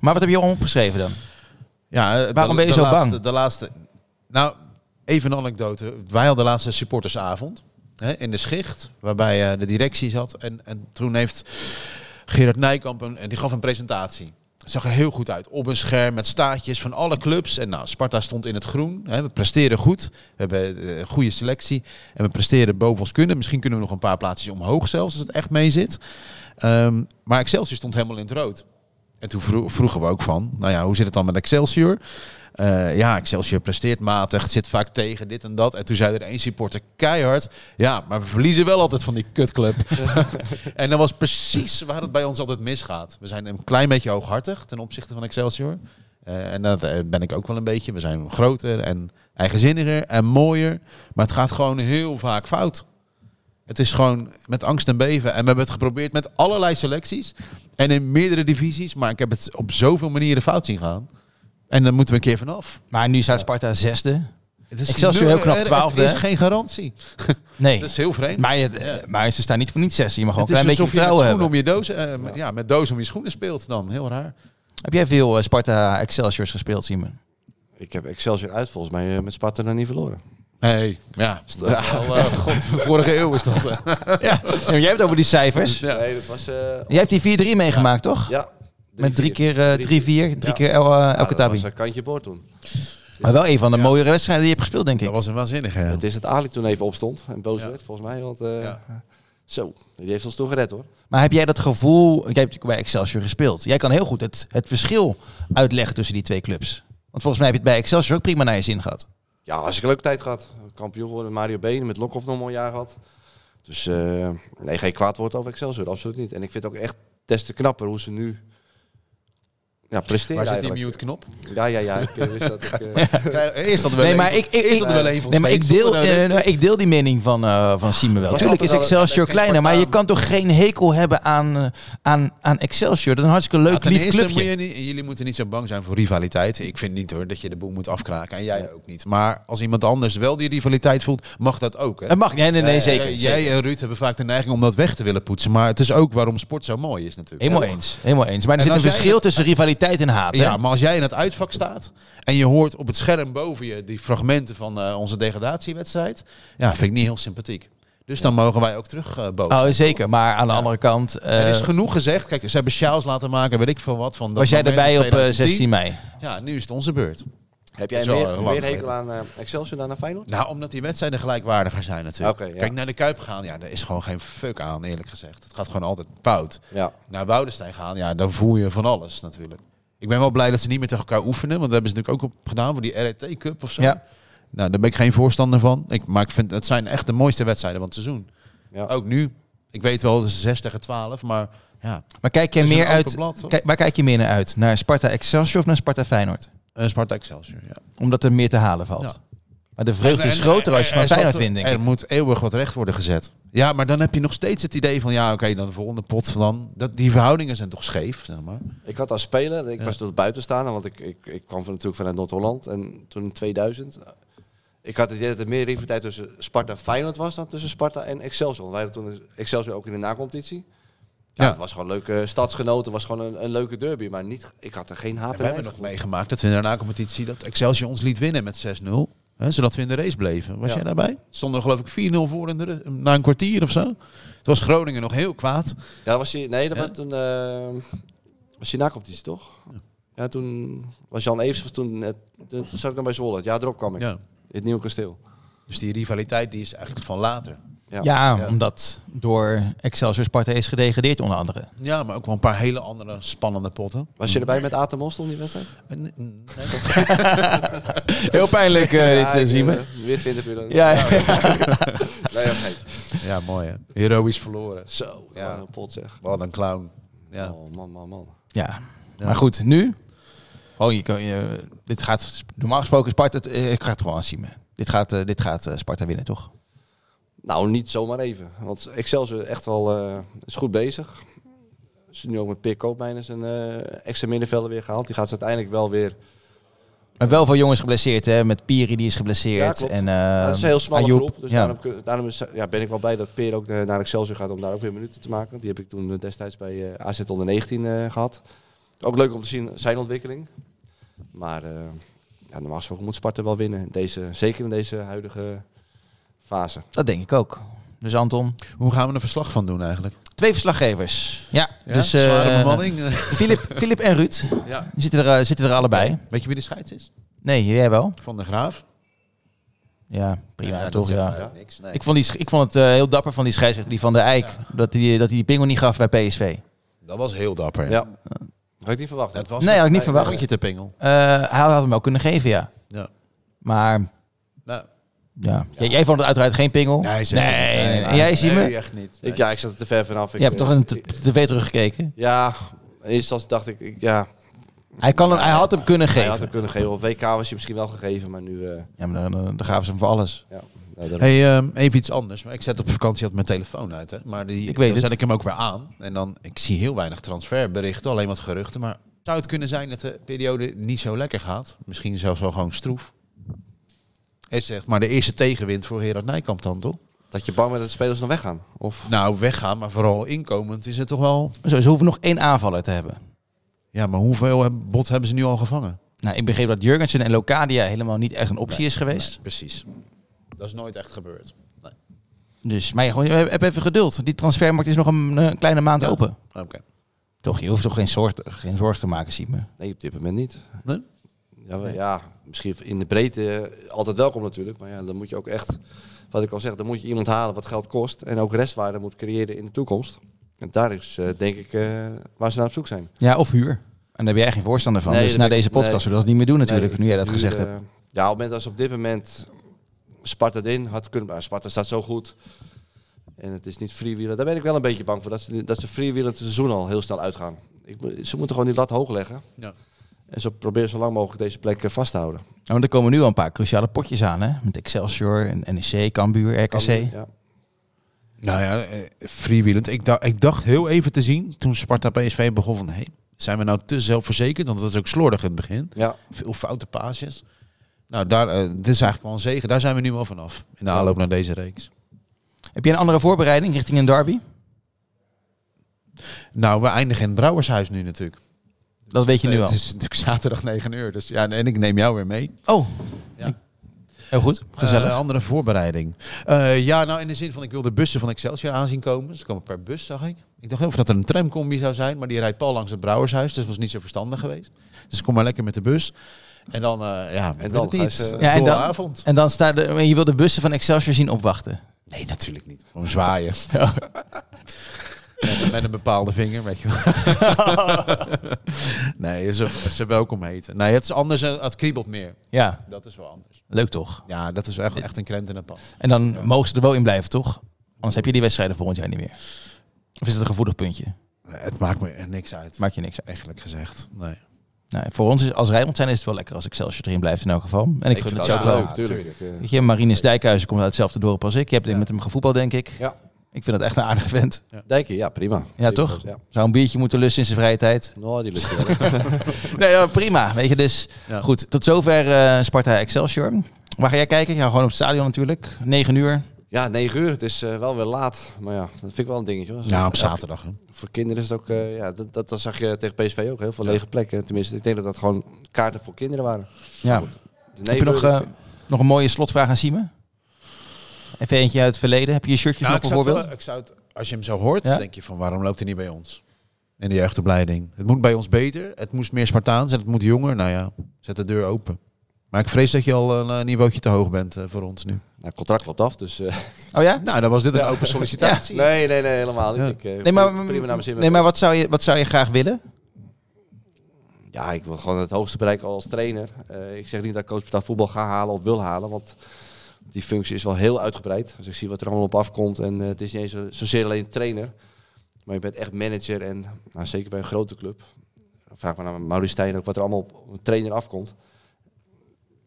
S2: Maar wat heb je allemaal opgeschreven dan?
S3: Ja, eh,
S2: Waarom
S3: de-
S2: ben je
S3: de
S2: zo
S3: laatste-
S2: bang?
S3: De laatste, nou, even een anekdote. Wij hadden de laatste supportersavond hè, in de schicht, waarbij eh, de directie zat. En, en toen heeft Gerard Nijkamp, een, en die gaf een presentatie. Zag er heel goed uit. Op een scherm met staartjes van alle clubs. En nou, Sparta stond in het groen. Hè. We presteren goed. We hebben eh, een goede selectie. En we presteren boven ons kunnen. Misschien kunnen we nog een paar plaatsjes omhoog zelfs, als het echt mee zit. Ehm, maar Excelsior stond helemaal in het rood. En toen vro- vroegen we ook van, nou ja, hoe zit het dan met Excelsior? Eh, ja, Excelsior presteert matig, het zit vaak tegen dit en dat. En toen zei er één supporter keihard, ja, maar we verliezen wel altijd van die kutclub. en dat was precies waar het bij ons altijd misgaat. We zijn een klein beetje hooghartig ten opzichte van Excelsior. Eh, en dat eh, ben ik ook wel een beetje. We zijn groter en eigenzinniger en mooier. Maar het gaat gewoon heel vaak fout. Het is gewoon met angst en beven. En we hebben het geprobeerd met allerlei selecties. En in meerdere divisies. Maar ik heb het op zoveel manieren fout zien gaan. En dan moeten we een keer vanaf.
S2: Maar nu staat Sparta zesde.
S3: Het is
S2: Excelsior
S3: nul-
S2: heel knap
S3: er-
S2: twaalfde,
S3: Het is
S2: hè?
S3: geen garantie.
S2: Nee.
S3: Dat is heel vreemd.
S2: Maar, het- eh, maar ze staan niet voor niet zesde. Je mag gewoon
S3: het
S2: een
S3: is
S2: klein beetje
S3: alsof je met
S2: vertrouwen
S3: schoenen
S2: hebben.
S3: om je dozen, eh, met- ja. met dozen om je schoenen speelt dan. Heel raar.
S2: Heb jij veel eh, Sparta Excelsiors gespeeld, Simon?
S4: Ik heb Excelsior uit volgens mij eh, met Sparta nog niet verloren.
S3: Nee, ja. Dat is wel, eh, God, vorige eeuw is dat. eh.
S2: ja. Jij hebt het over die cijfers.
S3: Ja.
S4: Nee, dat was... eh,
S2: Jij hebt die 4-3 meegemaakt, toch?
S4: ja.
S2: Met drie
S4: vier.
S2: keer eh, 3-4, drie,
S4: Ja.
S2: keer El, eh, El
S4: Ja, dat
S2: Khattabi.
S4: was een kantje boord toen.
S2: Maar wel een van de mooiere wedstrijden die je hebt gespeeld, denk
S3: Dat
S2: ik.
S3: was een waanzinnige.
S4: Het is dat Ali toen even opstond en boos
S3: Ja.
S4: werd, volgens mij. Want eh,
S3: Ja.
S4: zo, die heeft ons toen gered hoor.
S2: Maar heb jij dat gevoel... Jij hebt natuurlijk bij Excelsior gespeeld. Jij kan heel goed het, het verschil uitleggen tussen die twee clubs. Want volgens mij heb je het bij Excelsior ook prima naar je zin gehad.
S4: Ja, als ik een leuke tijd gehad. Kampioen geworden, met Mario Been, met Lokhoff nog een mooi jaar gehad. Dus eh, nee, geen kwaad woord over Excelsior, absoluut niet. En ik vind het ook echt des te knapper hoe ze nu ja, presteren
S3: Waar zit die
S4: eigenlijk.
S3: mute-knop?
S4: Ja, ja, ja. Ik eh, wist dat ik... eh,
S3: Is dat wel
S2: Nee,
S3: een-
S2: maar ik, ik,
S3: is
S2: ik,
S3: dat wel een van
S2: nee, maar ik,
S3: Steens?
S2: deel,
S3: Zonder dat-
S2: eh, nou, ik deel die mening van, eh van Siemen wel.
S4: Was
S2: Tuurlijk is
S4: altijd al-
S2: Excelsior
S3: dat is geen
S2: kleiner, maar je kan
S3: Spartaan.
S2: toch geen hekel hebben aan, eh, aan, aan Excelsior? Dat is een hartstikke leuk,
S3: Ja, Nou, ten
S2: lief
S3: eerste
S2: clubje.
S3: moet je niet- jullie moeten niet zo bang zijn voor rivaliteit. Ik vind niet hoor dat je de boel moet afkraken. En jij ook niet. Maar als iemand anders wel die rivaliteit voelt, mag dat ook. Hè?
S2: Het mag, nee, nee, nee, zeker.
S3: Eh,
S2: zeker.
S3: Jij en Ruud hebben vaak de neiging om dat weg te willen poetsen. Maar het is ook waarom sport zo mooi is natuurlijk.
S2: Helemaal eens, helemaal eens. Maar er
S3: En
S2: zit een
S3: als jij-
S2: verschil tussen rivaliteit en haat. hè?
S3: Ja, maar als jij in het uitvak staat en je hoort op het scherm boven je die fragmenten van eh, onze degradatiewedstrijd, ja, vind ik niet heel sympathiek. Dus dan mogen wij ook terug eh, boven.
S2: Oh, zeker. Maar aan de andere kant, eh,
S3: er is genoeg gezegd. Kijk, ze hebben sjaals laten maken, weet ik veel wat. Van dat
S2: was jij
S3: moment
S2: erbij
S3: in
S2: op eh, 16
S3: 2010.
S2: mei?
S3: Ja, nu is het onze beurt.
S4: Heb jij
S3: Zo, eh,
S4: meer,
S3: lang
S4: meer
S3: geleden.
S4: hekel aan eh, Excelsior dan aan Feyenoord?
S3: Nou, omdat die wedstrijden gelijkwaardiger zijn natuurlijk.
S4: Oké, ja.
S3: Kijk, naar de Kuip gaan, ja, daar is gewoon geen fuck aan, eerlijk gezegd. Het gaat gewoon altijd fout.
S4: Ja.
S3: Naar Woudenstein gaan, ja, dan voel je van alles natuurlijk. Ik ben wel blij dat ze niet meer tegen elkaar oefenen, want dat hebben ze natuurlijk ook op gedaan voor die RET Cup of zo.
S2: Ja.
S3: Nou, daar ben ik geen voorstander van. Ik, maar ik vind, het zijn echt de mooiste wedstrijden van het seizoen.
S4: Ja.
S3: Ook nu. Ik weet wel, het is 6 tegen 12, maar ja.
S2: Maar kijk je
S3: Het is
S2: meer
S3: een open
S2: uit,
S3: blad, hoor.
S2: kijk, waar kijk je meer naar uit? Naar Sparta Excelsior of naar Sparta Feyenoord?
S3: Eh, Sparta Excelsior, ja.
S2: Omdat er meer te halen valt.
S3: Ja.
S2: Maar de vreugde is groter als je van
S3: Er- er- er-
S2: Feyenoord wint, denk
S3: Er
S2: ik.
S3: moet eeuwig wat recht worden gezet. Ja, maar dan heb je nog steeds het idee van... ja, oké, dan de volgende pot dan... Dat, die verhoudingen zijn toch scheef, zeg maar.
S4: Ik had als speler, ik
S3: Ja.
S4: was tot buitenstaander, want ik, ik, ik kwam van, natuurlijk vanuit Noord-Holland. En toen in 2000, ik had het idee dat er meer rivaliteit tussen Sparta en Feyenoord was dan tussen Sparta en Excelsior. Want wij hadden toen Excelsior ook in de nacompetitie. Ja,
S3: Ja.
S4: Het was gewoon leuke stadsgenoten, het was gewoon een, een leuke derby. Maar niet, ik had er geen haat
S3: We hebben nog meegemaakt dat we in de na-competitie... dat Excelsior ons liet winnen met 6-0. Hè, zodat we in de race bleven. Was
S4: Ja.
S3: jij daarbij? Stonden er geloof ik 4-0 voor in de, ru- na een kwartier of zo. Toen was Groningen nog heel kwaad.
S4: Ja, dat was je, nee, dat
S3: Ja?
S4: was toen, eh was je nacompetitie toch? Ja, toen was Jan Evers, was toen, net- toen zat ik nog bij Zwolle. Het jaar erop kwam ik,
S3: Ja.
S4: in het Nieuwe Kasteel.
S3: Dus die rivaliteit die is eigenlijk van later.
S2: Ja,
S4: Ja.
S3: Ja.
S2: omdat door Excelsior Sparta is gedegradeerd onder andere.
S3: Ja, maar ook wel een paar hele andere spannende potten.
S4: Was je erbij met Aten Mostel in die wedstrijd?
S3: En, mm, nee,
S2: Heel pijnlijk dit
S4: ik,
S2: zien we.
S4: eh, Weer 20 minuten.
S2: Ja,
S4: Nee, ja, geen.
S3: ja, mooi hè. Heroïs verloren.
S4: Zo,
S3: Ja.
S4: ja. een pot zeg.
S3: Wat een clown. Ja.
S4: Oh, man, man, man.
S2: ja. maar goed, nu? Oh, je kan, je, dit gaat normaal gesproken Sparta. eh, Ik ga het gewoon aan Siemen. Dit gaat, eh, dit gaat eh, Sparta winnen, toch?
S4: Nou, niet zomaar even. Want Excelsior echt wel eh, is goed bezig. Ze zijn nu ook met Peer Koopmijn zijn eh extra middenvelder weer gehaald. Die gaat ze uiteindelijk wel weer...
S2: Maar wel veel jongens geblesseerd, hè? Met Piri die is
S4: Ja,
S2: geblesseerd.
S4: klopt.
S2: en, eh,
S4: dat is een heel smalle
S2: Ehm, Ayoub.
S4: groep. Dus
S2: ja.
S4: daarom, kun- daarom is, ja, ben ik wel blij dat Peer ook eh, naar Excelsior gaat om daar ook weer minuten te maken. Die heb ik toen eh, destijds bij eh, AZ onder 19 eh, gehad. Ook leuk om te zien zijn ontwikkeling. Maar eh, ja, normaal gesproken moet Sparta wel winnen. In Deze, zeker in deze huidige fase.
S2: Dat denk ik ook. Dus Anton,
S3: Hoe gaan we er verslag van doen eigenlijk?
S2: twee verslaggevers. Ja,
S3: Ja?
S2: dus eh,
S3: Zware bemanning.
S2: Filip, Filip en Ruud
S3: ja.
S2: zitten er, eh, zitten er allebei.
S3: Weet je wie de scheids is?
S2: Nee, jij wel.
S3: Van de Graaf.
S2: Ja, prima
S3: dat
S2: toch?
S3: zegt
S2: Ja.
S3: mij ook niks. Nee.
S2: Ik, vond die, sch- ik vond het eh, heel dapper van die scheidsrechter, die van de Eijk, dat hij die, dat die, die pingel niet gaf bij PSV.
S3: Dat was heel dapper.
S4: Ja. Had ik niet verwacht. hè?
S3: Dat was
S2: nee, had ik niet
S4: Nee,
S2: verwacht.
S3: Rondje te pingel.
S2: Eh, hij had hem wel kunnen geven, ja.
S3: Ja.
S2: Maar
S3: Nou,
S2: ja. Jij, jij vond het uiteraard geen pingel.
S3: zeker.
S2: nee, nee.
S3: maar-
S2: En jij, Simon?
S3: Nee, echt niet.
S4: Ik, ja, ik zat er te ver vanaf. Ik,
S2: Je hebt
S4: eh,
S2: toch een t-
S4: ik-
S2: tv teruggekeken?
S4: Ja, in eerste instantie dacht ik, ik ja,
S2: Hij, kan hem, hij had hem kunnen
S4: hij had
S2: geven.
S4: hem kunnen geven. Op WK was je misschien wel gegeven, maar nu... eh
S2: Ja, maar dan, dan, dan gaven ze hem voor alles.
S4: ja, nou, daarom.
S3: Hey, ehm, even iets anders. Maar ik zet op vakantie altijd mijn telefoon uit. Hè. Maar die,
S2: Ik weet
S3: dan
S2: het.
S3: zet ik hem ook weer aan. En dan, ik zie heel weinig transferberichten, alleen wat geruchten. Maar zou het kunnen zijn dat de periode niet zo lekker gaat? Misschien zelfs wel gewoon stroef. Is zeg maar de eerste tegenwind voor Gerard Nijkamp dan, toch?
S4: Dat je bang bent dat de spelers nog weggaan. Of,
S3: Nou, weggaan, maar vooral inkomend is het toch wel...
S2: Zo, ze hoeven nog één aanvaller te hebben.
S3: Ja, maar hoeveel heb- bot hebben ze nu al gevangen?
S2: Nou, ik begreep dat Jurgensen en Locadia helemaal niet echt een optie is geweest.
S3: precies. Dat is nooit echt gebeurd. Nee.
S2: Dus, maar ja, gewoon, heb even geduld. Die transfermarkt is nog een, eh, kleine maand
S3: Ja.
S2: open.
S3: Oké.
S2: Toch, je hoeft toch geen zorg, geen zorg te maken, Siep me.
S4: nee, op dit moment niet.
S3: Nee?
S4: Ja, wel- ja, misschien in de breedte eh, altijd welkom natuurlijk. Maar ja, dan moet je ook echt, wat ik al zeg, dan moet je iemand halen wat geld kost. En ook restwaarde moet creëren in de toekomst. En daar is eh, denk ik eh, waar ze naar op zoek zijn.
S2: Ja, of huur. En daar ben jij geen voorstander van.
S4: Nee,
S2: dus
S4: dat
S2: na
S4: ben ik-
S2: deze podcast
S4: nee.
S2: zullen we dat niet meer doen natuurlijk,
S4: Nee,
S2: nu jij
S4: ik
S2: dat
S4: vind
S2: gezegd
S4: nu,
S2: hebt.
S4: eh, ja, op het moment als op dit moment Sparta erin had kunnen... Maar Sparta staat zo goed. En het is niet freewheelen. Daar ben ik wel een beetje bang voor. Dat ze, dat ze freewheelend het seizoen al heel snel uitgaan. Ik, mo- ze moeten gewoon die lat hoog leggen.
S3: Ja.
S4: En ze proberen zo lang mogelijk deze plek eh, vast te houden.
S2: Nou, er komen nu al een paar cruciale potjes aan, hè? Met Excelsior, en NEC, Cambuur, RKC.
S4: Ja.
S3: Nou ja, eh, freewheelend. Ik, dacht, ik dacht heel even te zien toen Sparta PSV begon van... Hey, zijn we nou te zelfverzekerd? Want dat is ook slordig in het begin.
S4: ja,
S3: Veel foute paasjes. Nou, daar, eh, dit is eigenlijk wel een zegen. Daar zijn we nu wel vanaf. In de aanloop naar deze reeks.
S2: Heb je een andere voorbereiding richting een derby?
S3: Nou, we eindigen in het Brouwershuis nu natuurlijk.
S2: Dat weet je nu al.
S3: Het is natuurlijk zaterdag 9 uur. Dus ja, en ik neem jou weer mee.
S2: Oh,
S3: Ja.
S2: heel goed. Gezellig.
S3: Eh, andere voorbereiding. Eh, ja, nou in de zin van ik wil de bussen van Excelsior aanzien komen. Ze komen per bus, zag ik. Ik dacht heel veel dat er een tramcombi zou zijn, maar die rijdt pal langs het Brouwershuis. Dus dat was niet zo verstandig geweest. Dus kom maar lekker met de bus. En dan, eh, ja,
S4: En
S3: en
S4: dan
S3: dan het
S4: ga je
S3: niet.
S4: ze-
S2: Ja, en
S3: Dolle
S2: dan-
S3: avond.
S2: en dan staat er, je wil de bussen van Excelsior zien opwachten.
S3: Nee, natuurlijk niet. Gewoon zwaaien. Met, met een bepaalde vinger, weet je wel. nee, ze, ze welkom heten. Nee, het is anders. eh, Het kriebelt meer.
S2: Ja,
S3: Dat is wel anders.
S2: leuk toch?
S3: Ja, dat is echt, echt een krent in een pan.
S2: En dan mogen ze er wel in blijven, toch? Anders heb je die wedstrijden volgend jaar niet meer. Of is het een gevoelig puntje?
S3: Het maakt me echt niks uit.
S2: Maakt je niks uit.
S3: Eigenlijk gezegd, nee.
S2: Nou, voor ons is, als Rijnmond zijn is het wel lekker als Excelsior erin blijft in elk geval. En ik,
S4: ik
S2: vind
S4: vind
S2: het
S4: dat
S2: jou
S4: ook
S2: ook
S4: leuk,
S2: leuk.
S4: tuurlijk. Eh,
S2: Weet je, Marinus Dijkhuizen komt uit hetzelfde dorp als ik. Je hebt met hem gevoetbald, denk ik.
S4: Ja.
S2: Ik vind dat echt een aardige vent.
S4: Dijkje, ja, prima.
S2: Ja, toch?
S4: Ja.
S2: Zou een biertje moeten lusten in zijn vrije tijd.
S4: Nou, die lust je wel.
S2: Nee, ja, prima. Weet je, dus
S3: Ja.
S2: goed. Tot zover eh, Sparta Excelsior. Waar ga jij kijken? Ja, gewoon op het stadion natuurlijk. 9 uur.
S4: Ja, 9 uur. Het is eh, wel weer laat. Maar ja, dat vind ik wel een dingetje. Hoor.
S3: Ja, op
S4: Ja,
S3: zaterdag. Hè.
S4: Voor kinderen is het ook... eh, ja, dat, dat, dat zag je tegen PSV ook. Heel veel lege plekken. Tenminste, ik denk dat dat gewoon kaarten voor kinderen waren.
S2: Ja.
S4: De
S2: Heb je nog,
S4: negen uur-
S2: eh, nog een mooie slotvraag aan Siemen? Even eentje uit het verleden. Heb je je
S4: Nou,
S2: shirtjes nog
S3: ik zou het
S2: bijvoorbeeld?
S3: wel- ik zou het, als je hem zo hoort,
S2: Ja?
S3: denk je van waarom loopt hij niet bij ons? In de jeugdopleiding. Het moet bij ons beter. Het moest meer Spartaans en het moet jonger. Nou ja, zet de deur open. Maar ik vrees dat je al een eh, niveautje te hoog bent eh, voor ons nu.
S4: Nou, contract loopt af, dus... eh,
S2: Oh ja?
S3: Nou, dan was dit een open sollicitatie.
S4: nee, nee, nee, helemaal niet.
S3: Ja.
S4: Ik, eh,
S2: Nee, maar,
S4: prima naar mijn zin.
S2: nee, maar wat, zou je, wat zou je graag willen?
S4: Ja, ik wil gewoon het hoogste bereiken als trainer. Eh, ik zeg niet dat ik coach betaald voetbal ga halen of wil halen, want die functie is wel heel uitgebreid. Als ik zie wat er allemaal op afkomt en eh, het is niet eens zo- zozeer alleen trainer, maar je bent echt manager en nou, zeker bij een grote club. Vraag maar naar Maurice Stijn ook wat er allemaal op op een trainer afkomt.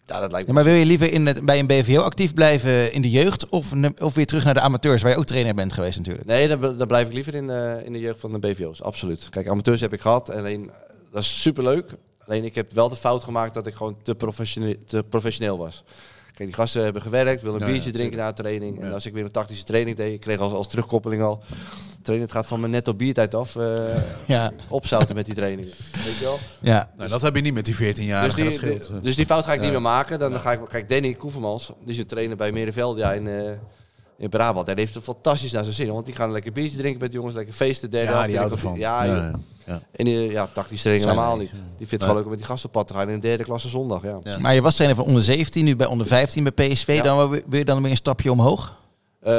S4: Ja, dat lijkt
S2: Ja,
S4: me
S2: maar wil je liever in het, bij een BVO actief blijven in de jeugd? Of, ne- of weer terug naar de amateurs, waar je ook trainer bent geweest natuurlijk?
S4: Nee, dan, bl- dan blijf ik liever in, eh, in de jeugd van de BVO's. Absoluut. Kijk, amateurs heb ik gehad. Alleen, eh, dat is superleuk. Alleen, ik heb wel de fout gemaakt dat ik gewoon te professioneel, te professioneel was. Kijk, die gasten hebben gewerkt, willen een
S3: Ja,
S4: biertje
S3: ja,
S4: drinken na een training. En
S3: Ja.
S4: als ik weer een tactische training deed, ik kreeg als, als terugkoppeling al... Trainer, het gaat van mijn netto biertijd af. eh,
S2: Ja.
S4: opzouten met die trainingen. Weet je wel?
S2: ja.
S3: Nou, dat heb je niet met die 14 jaar.
S4: Dus die,
S3: dat scheelt. eh.
S4: die- dus die fout ga ik niet
S3: Ja.
S4: meer maken. Dan ga ik, kijk, Danny Koevermans, die is een trainer bij Merenveld ja, in, eh, in Brabant. Hij heeft het fantastisch naar zijn zin. Want die gaan lekker biertje drinken met de jongens, lekker feesten. Derde
S3: ja,
S4: helft,
S3: die
S4: derde
S3: houdt ervan.
S4: helft. Ja, joh.
S3: ja.
S4: En die, ja, tactisch trainen
S3: Zijn
S4: helemaal
S3: er
S4: niet.
S3: niet.
S4: Die vindt het gewoon leuk om met die gasten op pad te gaan in de derde klasse zondag. Ja.
S3: Ja.
S2: Maar je was trainer van onder 17, nu bij onder 15 bij PSV.
S4: Ja.
S2: Dan wel weer- wil je dan weer een stapje omhoog?
S4: Eh,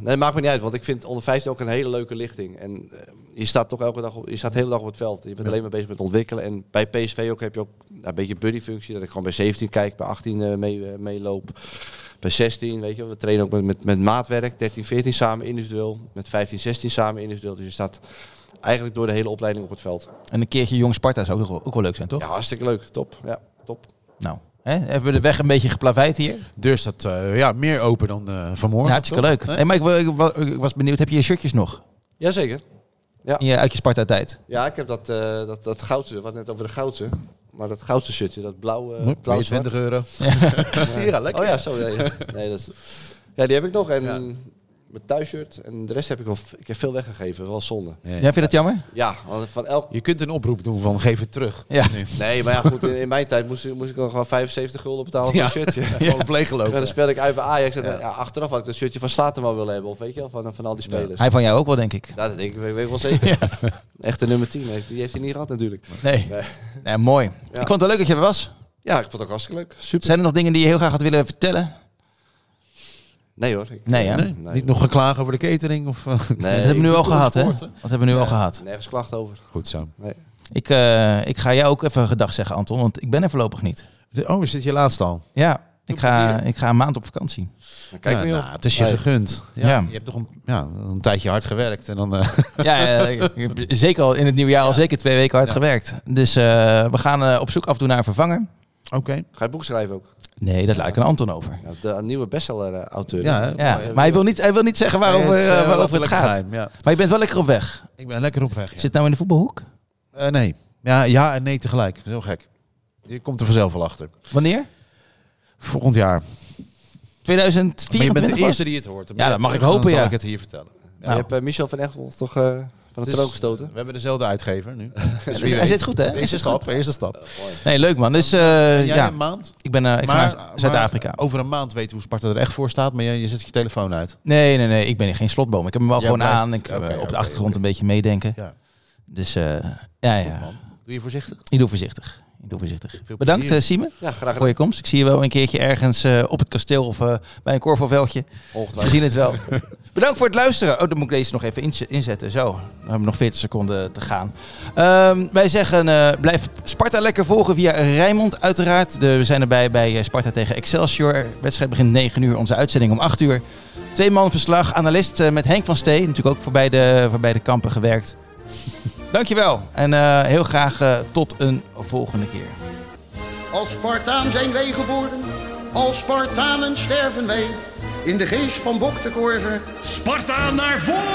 S4: nee, maakt me niet uit, want ik vind onder 15 ook een hele leuke lichting. En eh, je staat toch elke dag op, je staat de hele dag op het veld. Je bent alleen maar bezig met ontwikkelen. En bij PSV ook heb je ook nou, een beetje buddyfunctie. Dat ik gewoon bij 17 kijk, bij 18 eh, mee, eh, meeloop. Bij 16, weet je, wel. we trainen ook met, met, met maatwerk. 13, 14 samen individueel. Met 15, 16 samen individueel. Dus je staat eigenlijk door de hele opleiding op het veld.
S2: En een keertje jong Sparta zou ook, wel- ook wel leuk zijn, toch?
S4: Ja, hartstikke leuk. Top. Ja, top.
S2: Nou, hè? hebben we de weg een beetje geplaveid hier?
S3: Deur staat eh, ja, meer open dan eh, vanmorgen.
S2: Ja, hartstikke
S3: toch?
S2: leuk.
S3: Hè?
S2: Hey, maar ik, wil- ik wa- ik was benieuwd, heb je je shirtjes nog?
S4: Jazeker. Ja.
S2: In je, uit je Sparta-tijd?
S4: Ja, ik heb dat, eh, dat, dat goudse, we hadden het net over de goudse. Maar dat goudse shirtje, dat blauwe,
S3: Hup,
S4: blauw
S3: 20 euro.
S4: Ja, lekker. Oh ja, zo. Nee, nee, dat is, ja, die heb ik nog. En mijn thuisshirt. En de rest heb ik al ik heb veel weggegeven. Wel zonde.
S2: Ja, vind je dat jammer?
S4: Ja, want van elk...
S3: Je kunt een oproep doen van geef het terug.
S2: Ja.
S3: Nu.
S4: Nee, maar ja, goed. In, in mijn tijd moest, ik- moest ik dan gewoon 75 gulden betalen voor
S3: Ja.
S4: een shirtje.
S3: Gewoon
S4: En
S3: pleeggelopen.
S4: dan speelde ik uit bij Ajax. En dan- ja, achteraf had ik dat shirtje van Staten wel willen hebben. Of weet je wel, van, van al die spelers.
S2: Hij van jou ook wel, denk ik.
S4: Ja, dat denk ik, weet, weet ik wel zeker. Echte nummer 10, heeft- die heeft hij niet gehad natuurlijk.
S2: Nee. nee. mooi. Ik vond het wel leuk dat je er was.
S4: Ja, ik vond het ook hartstikke leuk. Super.
S2: Zijn er nog dingen die je heel graag had willen vertellen?
S4: Nee hoor. ik-
S2: Nee, hè?
S3: Nee, Niet nog geklagen over de catering of... eh,
S4: Nee,
S2: dat hebben we nu al gehad, hè?
S3: gehoord,
S2: Dat
S3: hè?
S2: hebben we nu al gehad.
S4: Nergens klacht over.
S3: Goed zo.
S2: Ik, eh, ik ga jou ook even gedag zeggen, Anton, want ik ben er voorlopig niet.
S3: De- Oh, is dit je laatste al?
S2: Ja, Ik ga, ik ga een maand op vakantie.
S3: Kijk,
S4: maar, joh.
S3: nou, het is je
S4: Nee.
S3: gegund. Ja,
S2: Ja.
S3: Je hebt toch een, ja, een tijdje hard gewerkt. En dan, eh,
S2: Ja, eh, ik heb zeker al in het nieuwe jaar al zeker twee weken hard gewerkt. Dus eh, we gaan eh, op zoek af en toe naar een vervanger.
S3: Oké.
S4: Ga je boek schrijven ook?
S2: Nee, dat laat ik aan Anton over.
S4: Ja, de nieuwe eh, bestseller-auteur.
S3: Ja, hè?
S2: Ja, maar hij wil niet, hij wil niet zeggen waarover,
S3: Nee, het is,
S2: eh,
S3: eh,
S2: waarover
S3: laten
S2: het
S3: we
S2: gaat.
S3: lekker geheim, ja.
S2: Maar je bent wel lekker op weg.
S3: Ik ben lekker op weg. ja.
S2: Zit nou in de voetbalhoek?
S3: Eh, nee. Ja, ja en nee tegelijk. Heel gek. Je komt er vanzelf wel achter.
S2: Wanneer?
S3: Volgend jaar.
S2: 2024
S3: Maar je bent de
S2: was?
S3: eerste die het hoort. Dan
S2: Ja,
S3: ben
S2: dat
S3: je
S2: mag ik
S3: terug,
S2: hopen,
S3: Dan zal
S2: ja.
S3: ik het hier vertellen.
S4: Je
S2: Nou,
S4: hebt eh, Michel van Echtel toch eh, van de
S3: Dus,
S4: troon gestoten?
S3: We hebben dezelfde uitgever nu. Dus
S2: hij zit goed, hè?
S3: Eerste stap, eerste stap.
S2: Nee, leuk man. Dus eh,
S3: Jij
S2: ja,
S3: een maand?
S2: ik ben eh, ik
S3: Maar-
S2: ga naar Zuid-Afrika.
S3: maar Over een maand weten hoe Sparta er echt voor staat, maar je, je zet je telefoon uit.
S2: Nee, nee, nee. Ik ben geen slotboom. Ik heb hem wel
S3: Jij
S2: gewoon
S3: blijft-
S2: aan. Ik eh,
S3: oké,
S2: op de
S3: oké,
S2: achtergrond een beetje meedenken.
S3: Ja.
S2: Dus eh, ja, ja.
S3: man. Doe je voorzichtig.
S2: Ik doe voorzichtig. Ik doe voorzichtig.
S3: plezier.
S2: Bedankt, eh, Siemen,
S4: Ja, graag
S2: voor
S4: gedaan.
S2: je komst. Ik zie je wel een keertje ergens eh, op het kasteel of eh, bij een korfbalveldje. We
S4: Ongetwijfeld.
S2: zien het wel. Bedankt voor het luisteren. Oh, dan moet ik deze nog even inz- inzetten. Zo, dan hebben we nog 40 seconden te gaan. Ehm, wij zeggen, eh, blijf Sparta lekker volgen via Rijnmond uiteraard. De- we zijn erbij bij eh, Sparta tegen Excelsior. Wedstrijd begint 9 uur, onze uitzending om 8 uur. Twee man verslag, analist eh, met Henk van Stee. Natuurlijk ook voor beide, voor beide kampen gewerkt. Dankjewel en eh, heel graag eh, tot een volgende keer.
S5: Als Spartaan zijn wij geboren, als Spartanen sterven wij. In de geest van Bok de Korver
S1: Sparta naar voren!